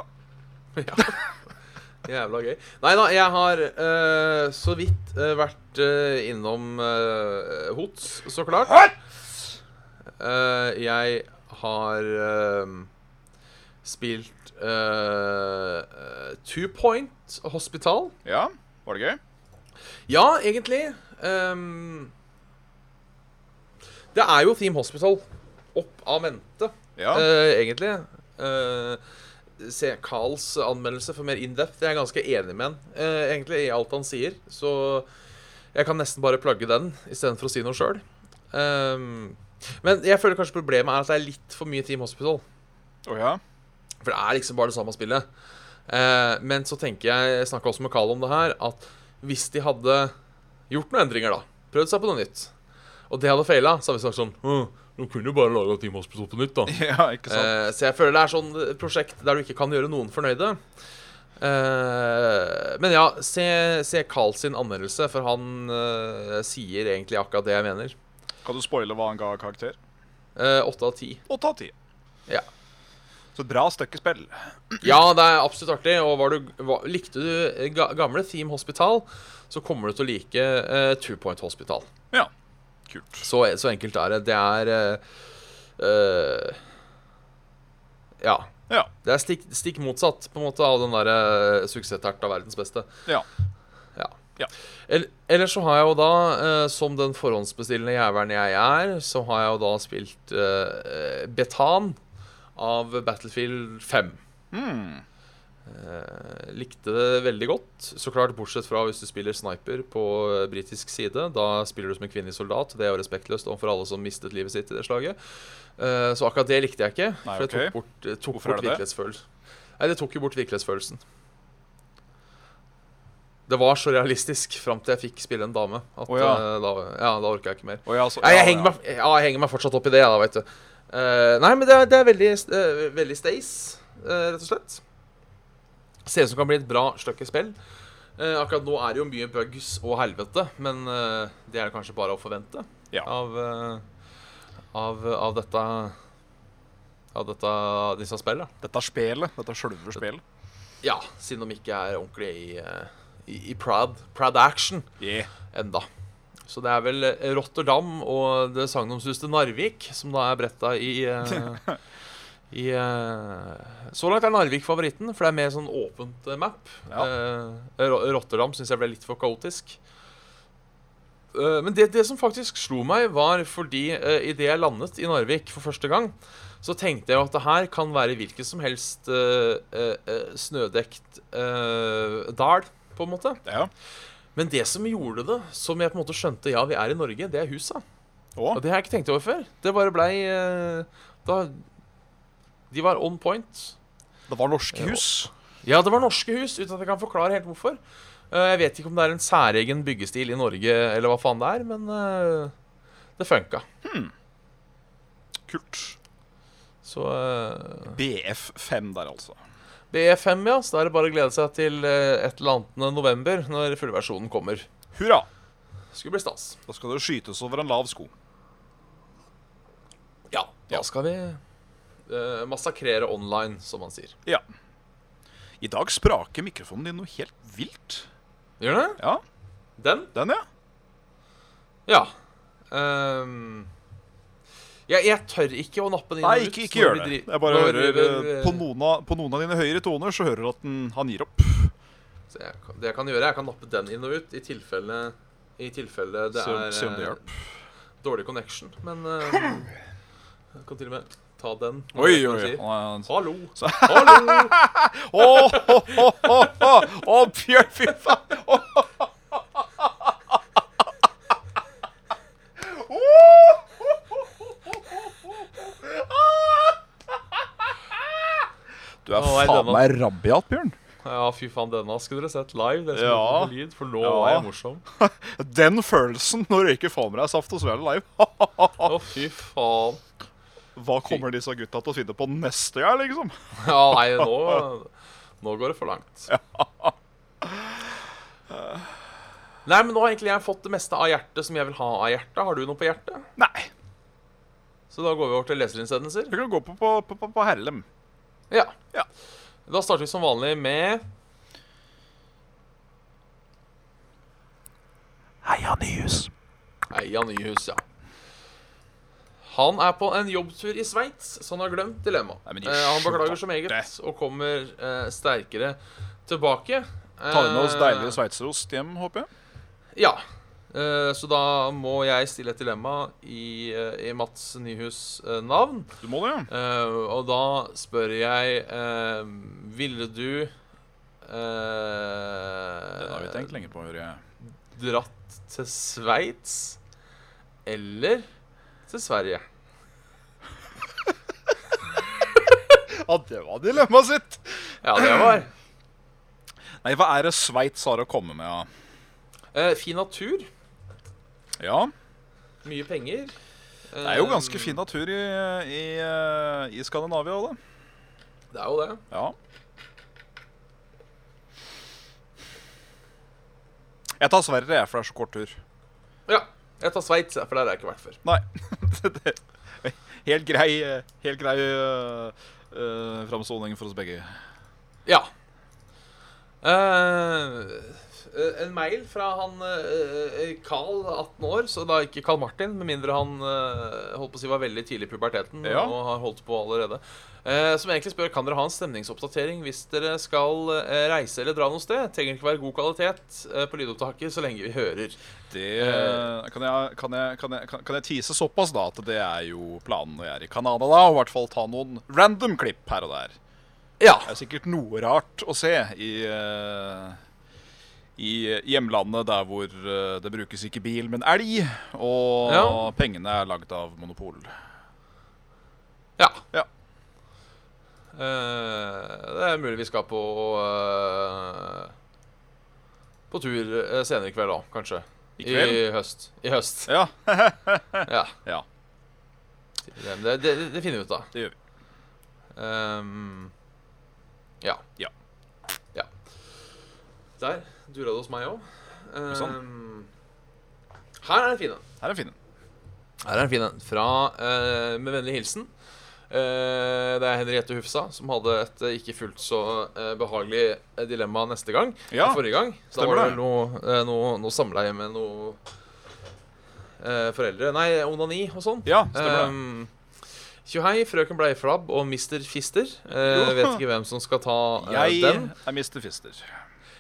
[SPEAKER 2] Jævla gøy. Nei da, jeg har eh, så vidt eh, vært eh, innom eh, HOTS, så klart. Eh, jeg har eh, spilt eh, eh, Two Point Hospital.
[SPEAKER 3] Ja, var det gøy?
[SPEAKER 2] Ja, egentlig. ehm, det er jo Theme Hospital opp av mente.
[SPEAKER 3] Ja.
[SPEAKER 2] Eh, egentlig. Eh, se Carls anmeldelse for mer in-depth. Jeg er ganske enig med han, eh, egentlig, i alt han sier. Så jeg kan nesten bare plugge den istedenfor å si noe sjøl. men jeg føler kanskje problemet er at det er litt for mye Team Hospital.
[SPEAKER 3] Å ja.
[SPEAKER 2] For det er liksom bare det samme spillet. Eh, men så tenker jeg, jeg snakka også med Carl om det her, at hvis de hadde gjort noen endringer, da Prøvd seg på noe nytt, og det hadde feila, så hadde vi sagt sånn «Hm,
[SPEAKER 1] Du kunne jo bare laga Team Hospital på nytt, da.
[SPEAKER 3] Ja, ikke sant?
[SPEAKER 2] Eh, så jeg føler det er sånn prosjekt der du ikke kan gjøre noen fornøyde. Eh, men ja, se, se Carl sin anmeldelse, for han eh, sier egentlig akkurat det jeg mener.
[SPEAKER 3] Kan du spoile hva han ga karakter?
[SPEAKER 2] Eh, Åtte av ti.
[SPEAKER 3] Åtte av ti.
[SPEAKER 2] Ja.
[SPEAKER 3] Så et bra stykke spill.
[SPEAKER 2] ja, det er absolutt artig. Og var du, hva- likte du eh, ga, gamle Theme Hospital, så kommer du til å like eh, Two Point Hospital.
[SPEAKER 3] Ja. Kult.
[SPEAKER 2] Så, så enkelt er det. Det er eh, eh, Ja.
[SPEAKER 3] Ja.
[SPEAKER 2] Det er stikk, stikk motsatt på en måte av den der uh, suksessterta verdens beste.
[SPEAKER 3] Ja.
[SPEAKER 2] Ja.
[SPEAKER 3] Ja.
[SPEAKER 2] El, ellers så har jeg jo da, eh, som den forhåndsbestillende jævelen jeg er, så har jeg jo da spilt eh, Betan av Battlefield 5.
[SPEAKER 3] Hmm.
[SPEAKER 2] Eh, likte det veldig godt, så klart bortsett fra hvis du spiller sniper på eh, britisk side. Da spiller du som en kvinnelig soldat. Det er jo respektløst overfor alle som mistet livet sitt i det slaget. Eh, så akkurat det likte jeg ikke.
[SPEAKER 3] Nei,
[SPEAKER 2] for det
[SPEAKER 3] ok.
[SPEAKER 2] tok bort, eh, tok
[SPEAKER 3] Hvorfor er
[SPEAKER 2] bort
[SPEAKER 3] det det?
[SPEAKER 2] virkelighetsfølelsen. Nei, det tok jo bort virkelighetsfølelsen. Det var så realistisk fram til jeg fikk spille en dame. At,
[SPEAKER 3] Å, ja.
[SPEAKER 2] eh, da, ja, da orka jeg ikke mer.
[SPEAKER 3] Og ja, så,
[SPEAKER 2] Nei, jeg,
[SPEAKER 3] ja,
[SPEAKER 2] henger meg, ja, jeg henger meg fortsatt opp i det, da, veit du. Eh, nei, men det er, det er veldig, eh, veldig stace, eh, rett og slett. Ser ut som det kan bli et bra stykke spill. Eh, akkurat nå er det jo mye bugs og helvete, men eh, det er det kanskje bare å forvente
[SPEAKER 3] Ja.
[SPEAKER 2] av, eh, av, av dette Av dette, disse spillene.
[SPEAKER 3] Dette er spelet. Dette er sjølve spelet.
[SPEAKER 2] Ja, siden de ikke er ordentlig i, eh, i, i Prad, Prad Action
[SPEAKER 3] Yeah.
[SPEAKER 2] enda. Så det er vel eh, Rotterdam og det sagnomsuste Narvik som da er bretta i, eh, i eh, Så langt er Narvik favoritten, for det er mer sånn åpent eh, map.
[SPEAKER 3] Ja.
[SPEAKER 2] Eh, Ro- Rotterdam syns jeg ble litt for kaotisk. Eh, Men det, det som faktisk slo meg, var fordi eh, idet jeg landet i Narvik for første gang, så tenkte jeg jo at det her kan være hvilken som helst eh, eh, eh, snødekt eh, dal, på en måte.
[SPEAKER 3] Ja.
[SPEAKER 2] Men det som gjorde det, som jeg på en måte skjønte Ja, vi er i Norge, det er husa. Og
[SPEAKER 3] Og
[SPEAKER 2] det har jeg ikke tenkt over før. Det bare blei eh, Da De var on point.
[SPEAKER 3] det var norske hus.
[SPEAKER 2] Ja, det var norske hus, uten at jeg kan forklare helt hvorfor. Eh, jeg vet ikke om det er en særegen byggestil i Norge, eller hva faen det er, men eh, det funka.
[SPEAKER 3] Kult.
[SPEAKER 2] Så eh,
[SPEAKER 3] BF5 der, altså.
[SPEAKER 2] BF5, ja. Så da er det bare å glede seg til eh, et eller annet november, når fullversjonen kommer.
[SPEAKER 3] Hurra!
[SPEAKER 2] Skulle bli stas.
[SPEAKER 3] Da skal det skytes over en lav sko.
[SPEAKER 2] Ja, da
[SPEAKER 3] Ja.
[SPEAKER 2] skal vi eh, massakrere online, som man sier.
[SPEAKER 3] Ja. I dag spraker mikrofonen din noe helt vilt.
[SPEAKER 2] Gjør det?
[SPEAKER 3] Ja,
[SPEAKER 2] Den?
[SPEAKER 3] den, ja.
[SPEAKER 2] Ja. Ehm, jeg, jeg tør ikke å nappe den inn og
[SPEAKER 3] Nei,
[SPEAKER 2] ut
[SPEAKER 3] ikke, ikke
[SPEAKER 2] når
[SPEAKER 3] gjør
[SPEAKER 2] vi
[SPEAKER 3] det.
[SPEAKER 2] dri-
[SPEAKER 3] Jeg bare
[SPEAKER 2] når vi
[SPEAKER 3] hører
[SPEAKER 2] driver,
[SPEAKER 3] eh,
[SPEAKER 2] eh,
[SPEAKER 3] på noen, av, på noen av dine høyere toner, så hører du at den, han gir opp.
[SPEAKER 2] så jeg, kan- Det jeg kan gjøre, jeg kan nappe den inn og ut i tilfelle, i tilfelle det
[SPEAKER 3] Se om-
[SPEAKER 2] er
[SPEAKER 3] se om det
[SPEAKER 2] eh,
[SPEAKER 3] hjelper.
[SPEAKER 2] dårlig connection. Men eh, jeg kan til og med ta den. når
[SPEAKER 3] Oi,
[SPEAKER 2] jeg
[SPEAKER 3] oi,
[SPEAKER 2] sier,
[SPEAKER 3] oi. Han er-
[SPEAKER 2] Hallo. Hallo.
[SPEAKER 3] Å, ho, ho, ho, ho. Å, Bjørn, fy faen! Å, ho, ho, ho, ho. Å, ho, ho, ho, ho, ho. Ah. Du
[SPEAKER 2] Å,
[SPEAKER 3] er
[SPEAKER 2] er
[SPEAKER 3] faen
[SPEAKER 2] denne-
[SPEAKER 3] meg rabiat, Bjørn.
[SPEAKER 2] Ja, fy faen, denne skulle dere sett live. Dere som
[SPEAKER 3] Ja.
[SPEAKER 2] hører på lyd, for nå
[SPEAKER 3] Ja.
[SPEAKER 2] var jeg morsom.
[SPEAKER 3] Den følelsen når du ikke får med deg saft og svele live.
[SPEAKER 2] Å, fy faen.
[SPEAKER 3] Hva kommer disse gutta til å finne på neste gang, liksom?
[SPEAKER 2] Ja, nei, nå, nå går det for langt. Nei, men nå har egentlig jeg fått det meste av hjertet som jeg vil ha av hjertet. Har du noe på hjertet?
[SPEAKER 3] Nei.
[SPEAKER 2] Så da går vi over til leserinnsendelser.
[SPEAKER 3] Du kan gå på, på, på, på, på Herlem.
[SPEAKER 2] Ja.
[SPEAKER 3] Ja.
[SPEAKER 2] Da starter vi som vanlig med
[SPEAKER 3] Heia Nyhus.
[SPEAKER 2] Eia Nyhus, ja. Han er på en jobbtur i Sveits, så han har glemt dilemmaet.
[SPEAKER 3] Nei, men de
[SPEAKER 2] Eh, han beklager
[SPEAKER 3] skjønte
[SPEAKER 2] som eget
[SPEAKER 3] det.
[SPEAKER 2] og kommer eh, sterkere tilbake.
[SPEAKER 3] Tar med oss
[SPEAKER 2] Eh,
[SPEAKER 3] deilig sveitserost hjem, håper jeg.
[SPEAKER 2] Ja. Eh, Så da må jeg stille et dilemma i, eh, i Mats Nyhus eh, navn.
[SPEAKER 3] Du må det, ja.
[SPEAKER 2] Eh, Og da spør jeg eh, Ville du
[SPEAKER 3] Den har vi
[SPEAKER 2] eh,
[SPEAKER 3] tenkt lenge på, hører jeg.
[SPEAKER 2] dratt til Sveits eller til Sverige?
[SPEAKER 3] Ja, det var dilemmaet sitt.
[SPEAKER 2] Ja, det var
[SPEAKER 3] Nei, hva er det Sveits har å komme med, ja?
[SPEAKER 2] eh, Fin natur,
[SPEAKER 3] Ja,
[SPEAKER 2] mye penger Eh,
[SPEAKER 3] Det er jo ganske fin natur i, i, eh, i Skandinavia òg, da.
[SPEAKER 2] Det er jo det.
[SPEAKER 3] Ja. Jeg tar Sverige, jeg, for det er så kort tur.
[SPEAKER 2] Ja. Jeg tar Sveits, jeg, for der har jeg ikke vært før.
[SPEAKER 3] Nei. Det- det- helt grei, eh, helt grei eh, eh, framsoning for oss begge.
[SPEAKER 2] Ja. Eh, en mail fra han eh, Carl, 18 år, så da ikke Carl Martin, med mindre han eh, holdt på å si var veldig tidlig i puberteten
[SPEAKER 3] Ja.
[SPEAKER 2] og har holdt på allerede. Eh, som egentlig spør kan dere ha en stemningsoppdatering hvis dere skal eh, reise eller dra noe sted. Trenger ikke være god kvalitet eh, på lydopptaket så lenge vi hører.
[SPEAKER 3] Det eh, kan jeg, kan, jeg, kan, jeg, kan- kan jeg tease såpass, da, at det er jo planen når jeg er i Canada, da. Og i hvert fall ta noen random klipp her og der.
[SPEAKER 2] Ja.
[SPEAKER 3] Det er sikkert noe rart å se i, eh, i hjemlandet der hvor eh, det brukes ikke bil, men elg. Og
[SPEAKER 2] Ja.
[SPEAKER 3] pengene er lagd av Monopol.
[SPEAKER 2] Ja.
[SPEAKER 3] Ja.
[SPEAKER 2] Eh, det er mulig vi skal på eh, På tur eh, senere i kveld òg, kanskje.
[SPEAKER 3] I kveld?
[SPEAKER 2] I høst. I høst.
[SPEAKER 3] Ja,
[SPEAKER 2] Ja.
[SPEAKER 3] ja
[SPEAKER 2] Det, det, det, det finner vi ut av.
[SPEAKER 3] det gjør vi.
[SPEAKER 2] Ehm, ja.
[SPEAKER 3] Ja.
[SPEAKER 2] Ja. Der dura det hos meg òg. her er en fin en.
[SPEAKER 3] Her er fin en.
[SPEAKER 2] Her er en fin en. Fra eh, Med vennlig hilsen. Eh, det er Henriette Hufsa som hadde et eh, ikke fullt så eh, behagelig eh, dilemma neste gang.
[SPEAKER 3] Ja,
[SPEAKER 2] enn forrige gang. Så da
[SPEAKER 3] stemmer
[SPEAKER 2] var det
[SPEAKER 3] det.
[SPEAKER 2] vel noe, eh, noe, noe samleie med noe eh, foreldre Nei, onani og sånn.
[SPEAKER 3] Ja, stemmer det.
[SPEAKER 2] Ehm, Tjohei, frøken Bleiflabb og Mr. Fister. Eh,
[SPEAKER 3] Jo.
[SPEAKER 2] vet ikke hvem som skal ta eh,
[SPEAKER 3] Jeg
[SPEAKER 2] den.
[SPEAKER 3] Ehm, er Mr. Fister.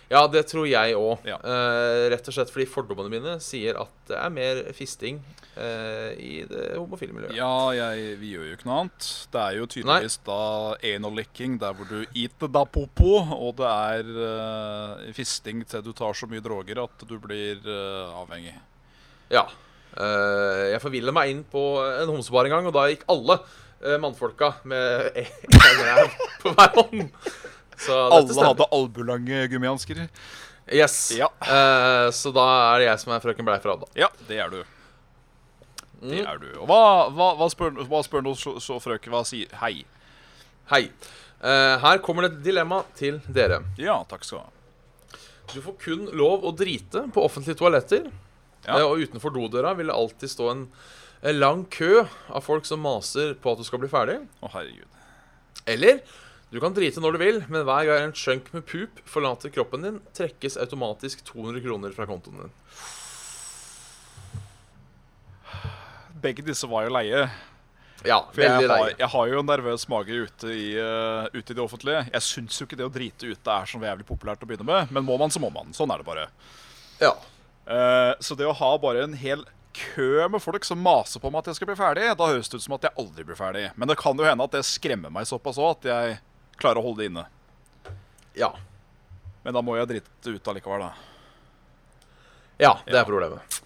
[SPEAKER 2] Ja, det tror jeg òg.
[SPEAKER 3] Ja.
[SPEAKER 2] Eh, rett og slett fordi fordommene mine sier at det er mer fisting eh, i det homofile miljøet.
[SPEAKER 3] Ja, jeg, vi gjør jo ikke noe annet. Det er jo tydeligvis da anal-licking der hvor du eater da popo, og det er eh, fisting til du tar så mye droger at du blir eh, avhengig.
[SPEAKER 2] Ja. Eh, jeg forvilla meg inn på en homsebar en gang, og da gikk alle eh, mannfolka med en ræv på hver hånd. Så dette
[SPEAKER 3] Alle
[SPEAKER 2] stemmer.
[SPEAKER 3] hadde albulange gummihansker.
[SPEAKER 2] Yes.
[SPEAKER 3] Ja.
[SPEAKER 2] Eh, så da er det jeg som er frøken Bleiflabb, da.
[SPEAKER 3] Ja, det er du.
[SPEAKER 2] Mm.
[SPEAKER 3] Det er du. Og hva, hva, hva spør, hva spør nå så, så frøken? Hva sier Hei.
[SPEAKER 2] Hei. Eh, her kommer det et dilemma til dere.
[SPEAKER 3] Ja, takk skal du ha.
[SPEAKER 2] Du får kun lov å drite på offentlige toaletter.
[SPEAKER 3] Ja.
[SPEAKER 2] Eh, Og utenfor dodøra vil det alltid stå en en lang kø av folk som maser på at du skal bli ferdig.
[SPEAKER 3] Å, herregud.
[SPEAKER 2] Eller du kan drite når du vil, men hver gang en chunk med pup forlater kroppen din, trekkes automatisk 200 kroner fra kontoen din.
[SPEAKER 3] Begge disse var jo leie.
[SPEAKER 2] Ja,
[SPEAKER 3] For jeg
[SPEAKER 2] veldig
[SPEAKER 3] har,
[SPEAKER 2] deilig.
[SPEAKER 3] jeg har jo en nervøs mage ute i, eh, ute i det offentlige. Jeg syns jo ikke det å drite ute er så jævlig populært å begynne med, men må man, så må man. Sånn er det bare.
[SPEAKER 2] Ja.
[SPEAKER 3] Eh, så det å ha bare en hel kø med folk som maser på meg at jeg skal bli ferdig, da høres det ut som at jeg aldri blir ferdig. Men det kan jo hende at det skremmer meg såpass òg at jeg klarer å holde det inne.
[SPEAKER 2] Ja.
[SPEAKER 3] Men da må jeg drite ut allikevel, da.
[SPEAKER 2] ja det er problemet.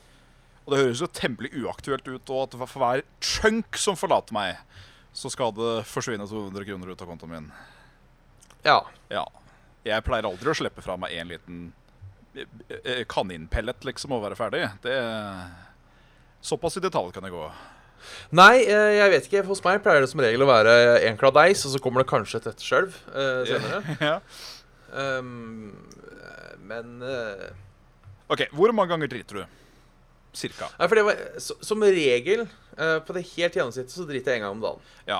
[SPEAKER 3] Og det høres jo temmelig uaktuelt ut og at for hver chunk som forlater meg, så skal det forsvinne 200 kroner ut av kontoen min.
[SPEAKER 2] Ja.
[SPEAKER 3] Ja. Jeg pleier aldri å slippe fra meg en liten eh, eh, kaninpellet, liksom, og være ferdig. Det Såpass i detalj kan jeg gå.
[SPEAKER 2] Nei, eh, jeg vet ikke. Hos meg pleier det som regel å være en kladeis, og så kommer det kanskje et etterskjelv eh, senere.
[SPEAKER 3] Ja.
[SPEAKER 2] Um, eh, men eh,
[SPEAKER 3] OK, hvor mange ganger driter du? Cirka.
[SPEAKER 2] Nei, for det var så, Som regel, eh, på det helt gjennomsnittet, så driter jeg en gang om dagen.
[SPEAKER 3] Ja.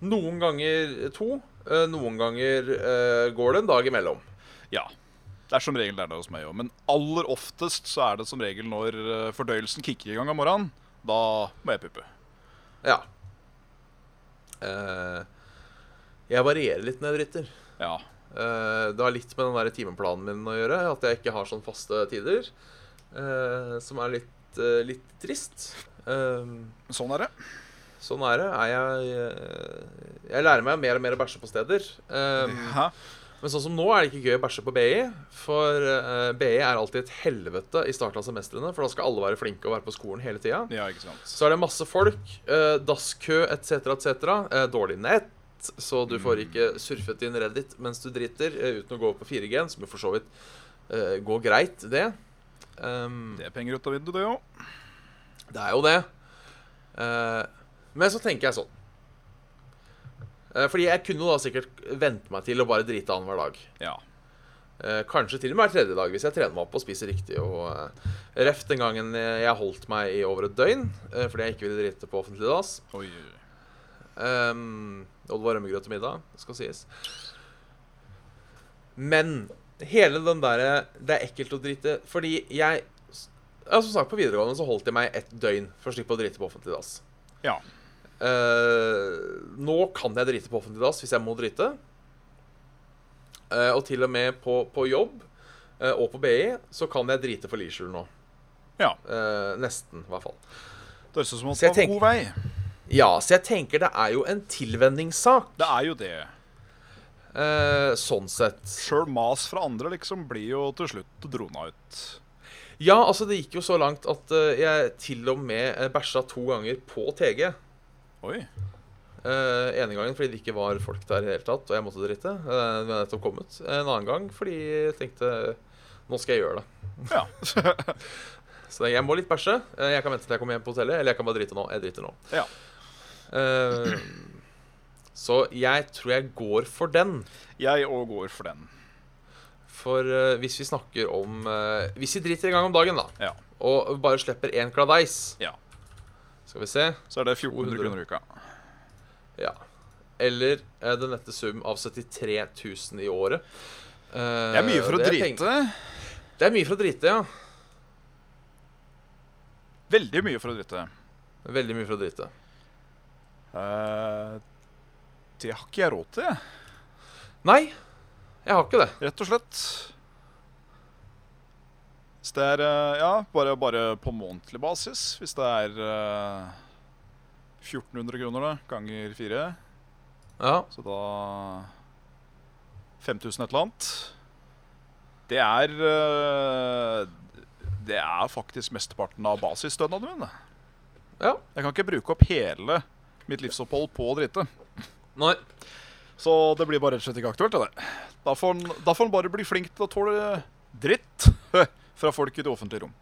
[SPEAKER 2] Noen ganger to. eh, noen ganger eh, går det en dag imellom.
[SPEAKER 3] ja. Det er som regel det er det hos meg òg. Men aller oftest så er det som regel når eh, fordøyelsen kicker i gang om morgenen. Da må jeg puppe.
[SPEAKER 2] Ja. Eh, jeg varierer litt når jeg driter.
[SPEAKER 3] Ja.
[SPEAKER 2] Eh, det har litt med den der timeplanen min å gjøre, at jeg ikke har sånn faste tider. eh, som er litt, eh, litt trist. Um,
[SPEAKER 3] Sånn er det.
[SPEAKER 2] Sånn er det. Er jeg, eh, jeg lærer meg mer og mer å bæsje på steder. Um,
[SPEAKER 3] Hæ?
[SPEAKER 2] men sånn som nå er det ikke gøy å bæsje på BI, for eh, BI er alltid et helvete i starten av semestrene, for da skal alle være flinke og være på skolen hele tida.
[SPEAKER 3] Ja, ikke sant.
[SPEAKER 2] Så er det masse folk, eh, dasskø etc., etc. Eh, dårlig nett, så du får ikke surfet din Reddit mens du driter, eh, uten å gå på 4G-en, som jo for så vidt eh, går greit, det. Um,
[SPEAKER 3] Det er penger ut av vinduet, det òg.
[SPEAKER 2] det er jo det. Eh, men så tenker jeg sånn. Eh, fordi jeg kunne jo da sikkert vente meg til å bare drite an hver dag.
[SPEAKER 3] Ja.
[SPEAKER 2] Eh, kanskje til og med hver tredje dag, hvis jeg trener meg opp og spiser riktig. Og eh, Ref den gangen jeg holdt meg i over et døgn eh, fordi jeg ikke ville drite på offentlig dass.
[SPEAKER 3] Oi, oi, oi.
[SPEAKER 2] Um, og det var rømmegrøt til middag, skal sies. Men hele den derre Det er ekkelt å drite Fordi jeg ja, Som sagt, på videregående så holdt jeg meg ett døgn for å slippe å drite på offentlig dass.
[SPEAKER 3] Ja.
[SPEAKER 2] Eh, nå kan jeg drite på offentlig dass hvis jeg må drite. Eh, og til og med på, på jobb eh, og på BI så kan jeg drite for Leisure nå.
[SPEAKER 3] Ja.
[SPEAKER 2] Eh, nesten, i hvert fall.
[SPEAKER 3] Det høres ut som at
[SPEAKER 2] Så
[SPEAKER 3] det
[SPEAKER 2] jeg
[SPEAKER 3] var god vei.
[SPEAKER 2] Ja, så jeg tenker det er jo en tilvenningssak.
[SPEAKER 3] Det er jo det.
[SPEAKER 2] Eh, sånn sett.
[SPEAKER 3] Sjøl mas fra andre liksom blir jo til slutt drona ut.
[SPEAKER 2] Ja, altså det gikk jo så langt at eh, jeg til og med eh, bæsja to ganger på TG.
[SPEAKER 3] Oi.
[SPEAKER 2] Uh, ene gangen fordi det ikke var folk der i det hele tatt, og jeg måtte drite. eh, Den var nettopp kommet. En annen gang fordi jeg tenkte nå skal jeg gjøre det.
[SPEAKER 3] Ja.
[SPEAKER 2] Så jeg må litt bæsje. Eh, Jeg kan vente til jeg kommer hjem på hotellet, eller jeg kan bare drite nå. Jeg driter nå.
[SPEAKER 3] Ja.
[SPEAKER 2] Eh, så jeg tror jeg går for den.
[SPEAKER 3] Jeg òg går for den.
[SPEAKER 2] For eh, hvis vi snakker om eh, Hvis vi driter en gang om dagen, da,
[SPEAKER 3] Ja.
[SPEAKER 2] og bare slipper én kladeis
[SPEAKER 3] Ja.
[SPEAKER 2] Skal vi se.
[SPEAKER 3] Så er det
[SPEAKER 2] 200.
[SPEAKER 3] 1400 kroner i uka.
[SPEAKER 2] Ja. Eller eh, den nette sum av 73 000 i året. Eh,
[SPEAKER 3] Det er mye for å
[SPEAKER 2] det peng-
[SPEAKER 3] drite.
[SPEAKER 2] Det er mye for å drite, ja.
[SPEAKER 3] Veldig mye for å drite.
[SPEAKER 2] Veldig mye for å drite.
[SPEAKER 3] Eh, det har ikke jeg råd til, jeg.
[SPEAKER 2] Nei, jeg har ikke det.
[SPEAKER 3] rett og slett. Hvis det er eh, Ja, bare, bare på månedlig basis. Hvis det er eh, 1400 kroner da, ganger fire,
[SPEAKER 2] Ja,
[SPEAKER 3] så da 5000 et eller annet. Det er eh, Det er faktisk mesteparten av basisstønaden min. det.
[SPEAKER 2] ja.
[SPEAKER 3] Jeg kan ikke bruke opp hele mitt livsopphold på å drite.
[SPEAKER 2] Nei.
[SPEAKER 3] Så det blir bare rett og slett ikke aktuelt. det der. Da får en, da får en bare bli flink til å tåle dritt fra folk i det offentlige rom.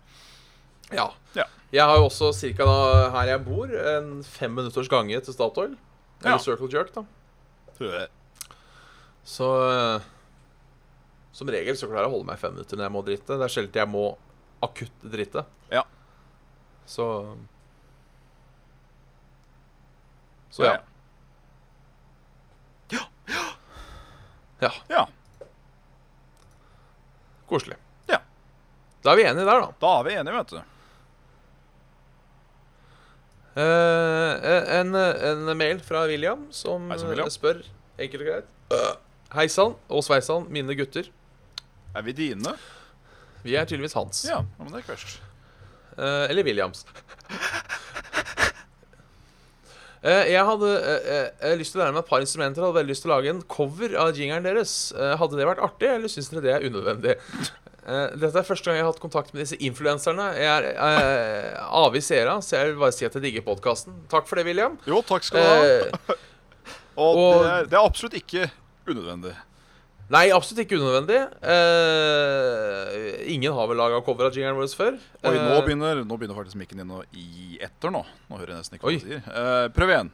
[SPEAKER 2] Ja.
[SPEAKER 3] Ja.
[SPEAKER 2] Jeg har jo også cirka da her jeg bor, en fem minutters gange til Statoil. Eller
[SPEAKER 3] Ja.
[SPEAKER 2] Circle Jerk, da. Så eh, som regel så klarer jeg å holde meg fem minutter når jeg må drite. Det er sjelden jeg må akutt drite.
[SPEAKER 3] Ja.
[SPEAKER 2] Så Så ja. Ja,
[SPEAKER 3] Ja.
[SPEAKER 2] koselig.
[SPEAKER 3] Ja.
[SPEAKER 2] Da er vi enige der, da.
[SPEAKER 3] Da er vi enige, vet du.
[SPEAKER 2] Eh, en, en mail fra William som
[SPEAKER 3] Hei sann, William.
[SPEAKER 2] eh, spør enkelt og greit. Hei sann og sveisann, mine gutter.
[SPEAKER 3] Er vi dine?
[SPEAKER 2] Vi er tydeligvis hans.
[SPEAKER 3] Ja, ja, men det er ikke verst.
[SPEAKER 2] Eh, eller Williams. Eh, jeg hadde eh, eh, lyst til å lære meg et par instrumenter og hadde veldig lyst til å lage en cover av jingeren deres. Eh, hadde det vært artig, eller syns dere det er unødvendig? Eh, dette er første gang jeg har hatt kontakt med disse influenserne. Jeg er eh, avig seere, så jeg vil bare si at jeg digger podkasten. Takk for det, William.
[SPEAKER 3] Jo, takk skal du ha.
[SPEAKER 2] Eh,
[SPEAKER 3] Og,
[SPEAKER 2] og-
[SPEAKER 3] det, er, det er absolutt ikke unødvendig.
[SPEAKER 2] nei, absolutt ikke unødvendig. Eh, ingen har vel laga cover av jingeren vår før.
[SPEAKER 3] Oi, nå
[SPEAKER 2] Eh,
[SPEAKER 3] begynner, nå begynner faktisk mikken din å gi etter nå. Nå hører jeg nesten ikke hva
[SPEAKER 2] Oi.
[SPEAKER 3] du sier. Eh, prøv igjen.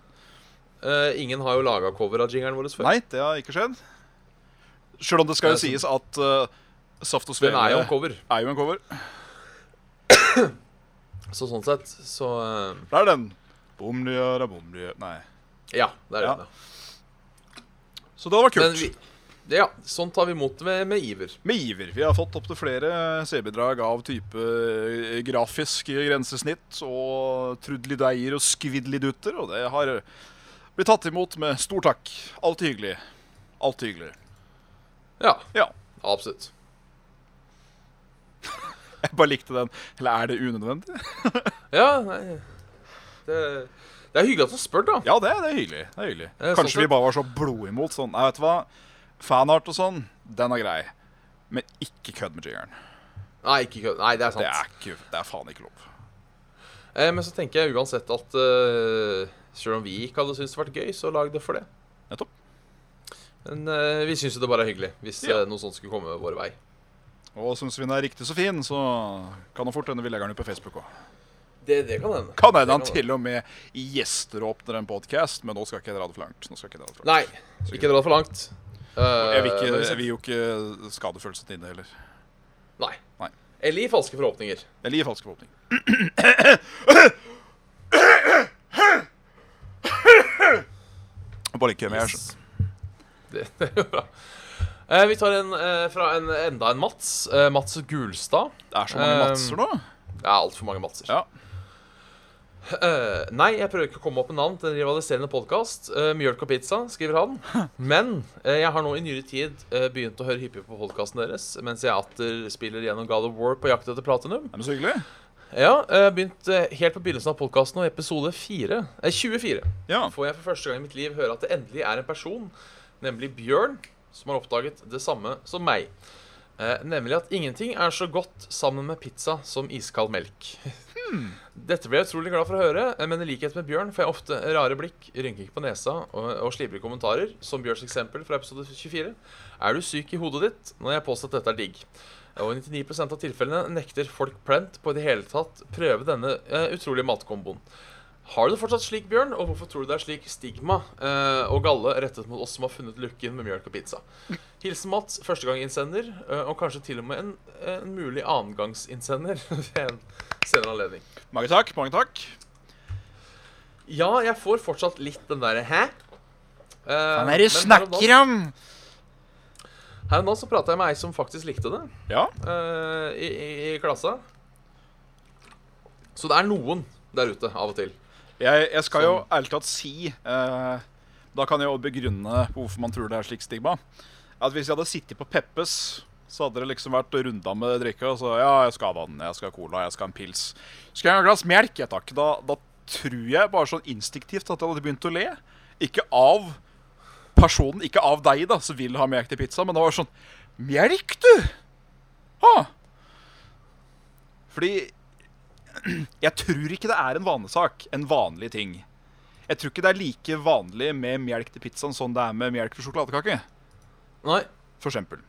[SPEAKER 2] eh, ingen har jo laga cover av jingeren vår før.
[SPEAKER 3] Nei, det har ikke skjedd. Sjøl om det skal jo
[SPEAKER 2] Det er
[SPEAKER 3] sies at eh, Saft og
[SPEAKER 2] Den
[SPEAKER 3] Svele
[SPEAKER 2] er jo en cover.
[SPEAKER 3] er jo en cover.
[SPEAKER 2] Så sånn sett, så eh,
[SPEAKER 3] Det er den. Bomdiara, bomdiara Nei.
[SPEAKER 2] Ja, det er
[SPEAKER 3] Ja,
[SPEAKER 2] det.
[SPEAKER 3] Så det hadde vært
[SPEAKER 2] Men
[SPEAKER 3] kult.
[SPEAKER 2] vi, ja, sånn tar vi imot det med, med iver.
[SPEAKER 3] Med iver. Vi har fått opptil flere C-bidrag av type eh, grafisk grensesnitt og trudelideier og skvidlidutter, og det har blitt tatt imot med stor takk. Alt hyggelig. Alt hyggelig.
[SPEAKER 2] Ja,
[SPEAKER 3] Ja.
[SPEAKER 2] absolutt.
[SPEAKER 3] Jeg bare likte den. Eller er det unødvendig?
[SPEAKER 2] Ja, nei Det, det er hyggelig at du spør, da.
[SPEAKER 3] Ja, det, det er hyggelig. Det er hyggelig.
[SPEAKER 2] Eh, sånn
[SPEAKER 3] Kanskje
[SPEAKER 2] sett.
[SPEAKER 3] vi bare var så blodimot sånn. Nei, vet du hva? Fanart og sånn, den er grei. Men ikke kødd med jiggeren.
[SPEAKER 2] Nei, ikke kødd. Nei, det er sant.
[SPEAKER 3] Det er, ikke, det er faen ikke lov.
[SPEAKER 2] Eh, men så tenker jeg uansett at eh, selv om vi ikke hadde syntes det vært gøy, så lag det for det.
[SPEAKER 3] Nettopp.
[SPEAKER 2] Men eh, vi syns jo det bare er hyggelig hvis
[SPEAKER 3] Ja.
[SPEAKER 2] eh, noe sånt skulle komme vår vei.
[SPEAKER 3] Og syns vi den er riktig så fin, så kan det fort hende vi legger den ut på Facebook òg.
[SPEAKER 2] Det, det kan hende.
[SPEAKER 3] Kan hende
[SPEAKER 2] Det
[SPEAKER 3] han til og med gjesteråpner en podkast, men nå skal ikke jeg dra det for langt. Nå skal jeg ikke dra det for langt.
[SPEAKER 2] Nei, ikke dra det for langt. Eh,
[SPEAKER 3] Jeg vil, ikke,
[SPEAKER 2] men hvis-
[SPEAKER 3] jeg vil jo ikke skade følelsen din heller.
[SPEAKER 2] Nei.
[SPEAKER 3] Nei.
[SPEAKER 2] Eller gi falske forhåpninger.
[SPEAKER 3] Eller gi falske forhåpninger. Bare ikke med jeg skjønner.
[SPEAKER 2] Det, det er bra. Eh, vi tar en eh, fra en, enda en Mats. Eh, Mats Gulstad.
[SPEAKER 3] Det er så mange
[SPEAKER 2] Um,
[SPEAKER 3] matser nå.
[SPEAKER 2] Det er altfor mange Matser.
[SPEAKER 3] Ja.
[SPEAKER 2] Eh, nei, jeg prøver ikke å komme opp med navn til en rivaliserende podkast. Uh, Mjølk og pizza, skriver han. Men eh, jeg har nå i nyere tid eh, begynt å høre hyppig på podkasten deres mens jeg atter spiller gjennom God of War på jakt etter platinum.
[SPEAKER 3] Er det så hyggelig?
[SPEAKER 2] Ja, eh, begynt eh, helt på begynnelsen av podkasten og episode 4, eh, 24
[SPEAKER 3] Ja.
[SPEAKER 2] får jeg for første gang i mitt liv høre at det endelig er en person, nemlig Bjørn, som har oppdaget det samme som meg. Eh, nemlig at ingenting er så godt sammen med pizza som iskald melk. Dette ble jeg utrolig glad for å høre, eh, men i likhet med Bjørn får jeg ofte rare blikk, rynking på nesa og, og slibrige kommentarer, som Bjørns eksempel fra episode 24. Er du syk i hodet ditt når jeg påstår at dette er digg? Og i 99 av tilfellene nekter folk plent på i det hele tatt prøve denne eh, utrolige matkomboen. Har du det fortsatt slik, Bjørn? Og hvorfor tror du det er slik stigma eh, og galle rettet mot oss som har funnet lykken med mjølk og pizza? Hilsen Mats, førstegangsinnsender, eh, og kanskje til og med en, en mulig annengangsinnsender ved en senere anledning.
[SPEAKER 3] Mange takk. Mange takk.
[SPEAKER 2] Ja, jeg får fortsatt litt den derre 'hæ'? Eh, men her om dagen-
[SPEAKER 3] om?
[SPEAKER 2] Her om dagen så prata jeg med ei som faktisk likte det,
[SPEAKER 3] Ja.
[SPEAKER 2] eh, i, i, i klassa. Så det er noen der ute, av og til.
[SPEAKER 3] Jeg, jeg skal jo ærlig talt si eh, Da kan jeg jo begrunne hvorfor man tror det er slik stigma. At Hvis jeg hadde sittet på Peppes, så hadde det liksom vært runda med drikka. Så ja, jeg skal ha vann, jeg skal ha cola, jeg skal ha en pils. Skal jeg ha et glass melk? Ja takk. Da, da tror jeg bare sånn instinktivt at jeg hadde begynt å le. Ikke av personen, ikke av deg, da, som vil ha melk til pizza, men det var sånn Melk, du! Ha! Fordi jeg tror ikke det er en vanesak, en vanlig ting. Jeg tror ikke det er like vanlig med melk til pizzaen som det er med melk til sjokoladekake,
[SPEAKER 2] Nei.
[SPEAKER 3] for eksempel.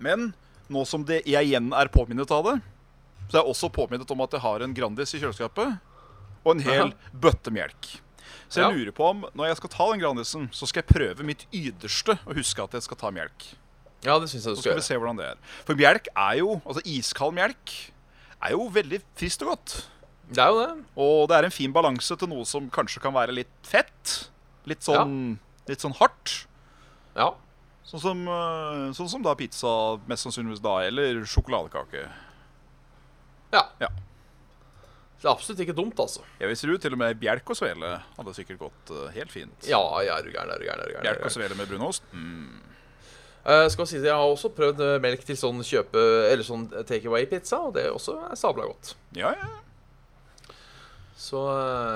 [SPEAKER 3] Men nå som det, jeg igjen er påminnet av det, så er jeg også påminnet om at jeg har en Grandis i kjøleskapet og en hel bøtte melk. Så jeg
[SPEAKER 2] Ja.
[SPEAKER 3] lurer på om når jeg skal ta den Grandisen, så skal jeg prøve mitt yderste å huske at jeg skal ta melk.
[SPEAKER 2] Ja, det syns jeg du
[SPEAKER 3] Så
[SPEAKER 2] skal
[SPEAKER 3] skal vi
[SPEAKER 2] gjøre.
[SPEAKER 3] se hvordan det er. For melk er jo, altså iskald melk, er jo veldig friskt og godt.
[SPEAKER 2] Det er jo det.
[SPEAKER 3] Og det er en fin balanse til noe som kanskje kan være litt fett. Litt sånn, litt sånn hardt.
[SPEAKER 2] Ja.
[SPEAKER 3] Sånn som, eh, sånn som da pizza mest sannsynligvis da, eller sjokoladekake.
[SPEAKER 2] Ja.
[SPEAKER 3] Ja.
[SPEAKER 2] Det er absolutt ikke dumt, altså.
[SPEAKER 3] Jeg visste jo til og med bjelk og svele hadde sikkert gått eh, helt fint.
[SPEAKER 2] Ja, ja, er du gæren, er du gæren. er du gæren, er du
[SPEAKER 3] Bjelk og
[SPEAKER 2] gæren.
[SPEAKER 3] svele med brunost. Mm.
[SPEAKER 2] Eh, skal si det, Jeg har også prøvd eh, melk til sånn kjøpe Eller sånn take away-pizza, og det også er sabla godt.
[SPEAKER 3] Ja, ja.
[SPEAKER 2] Så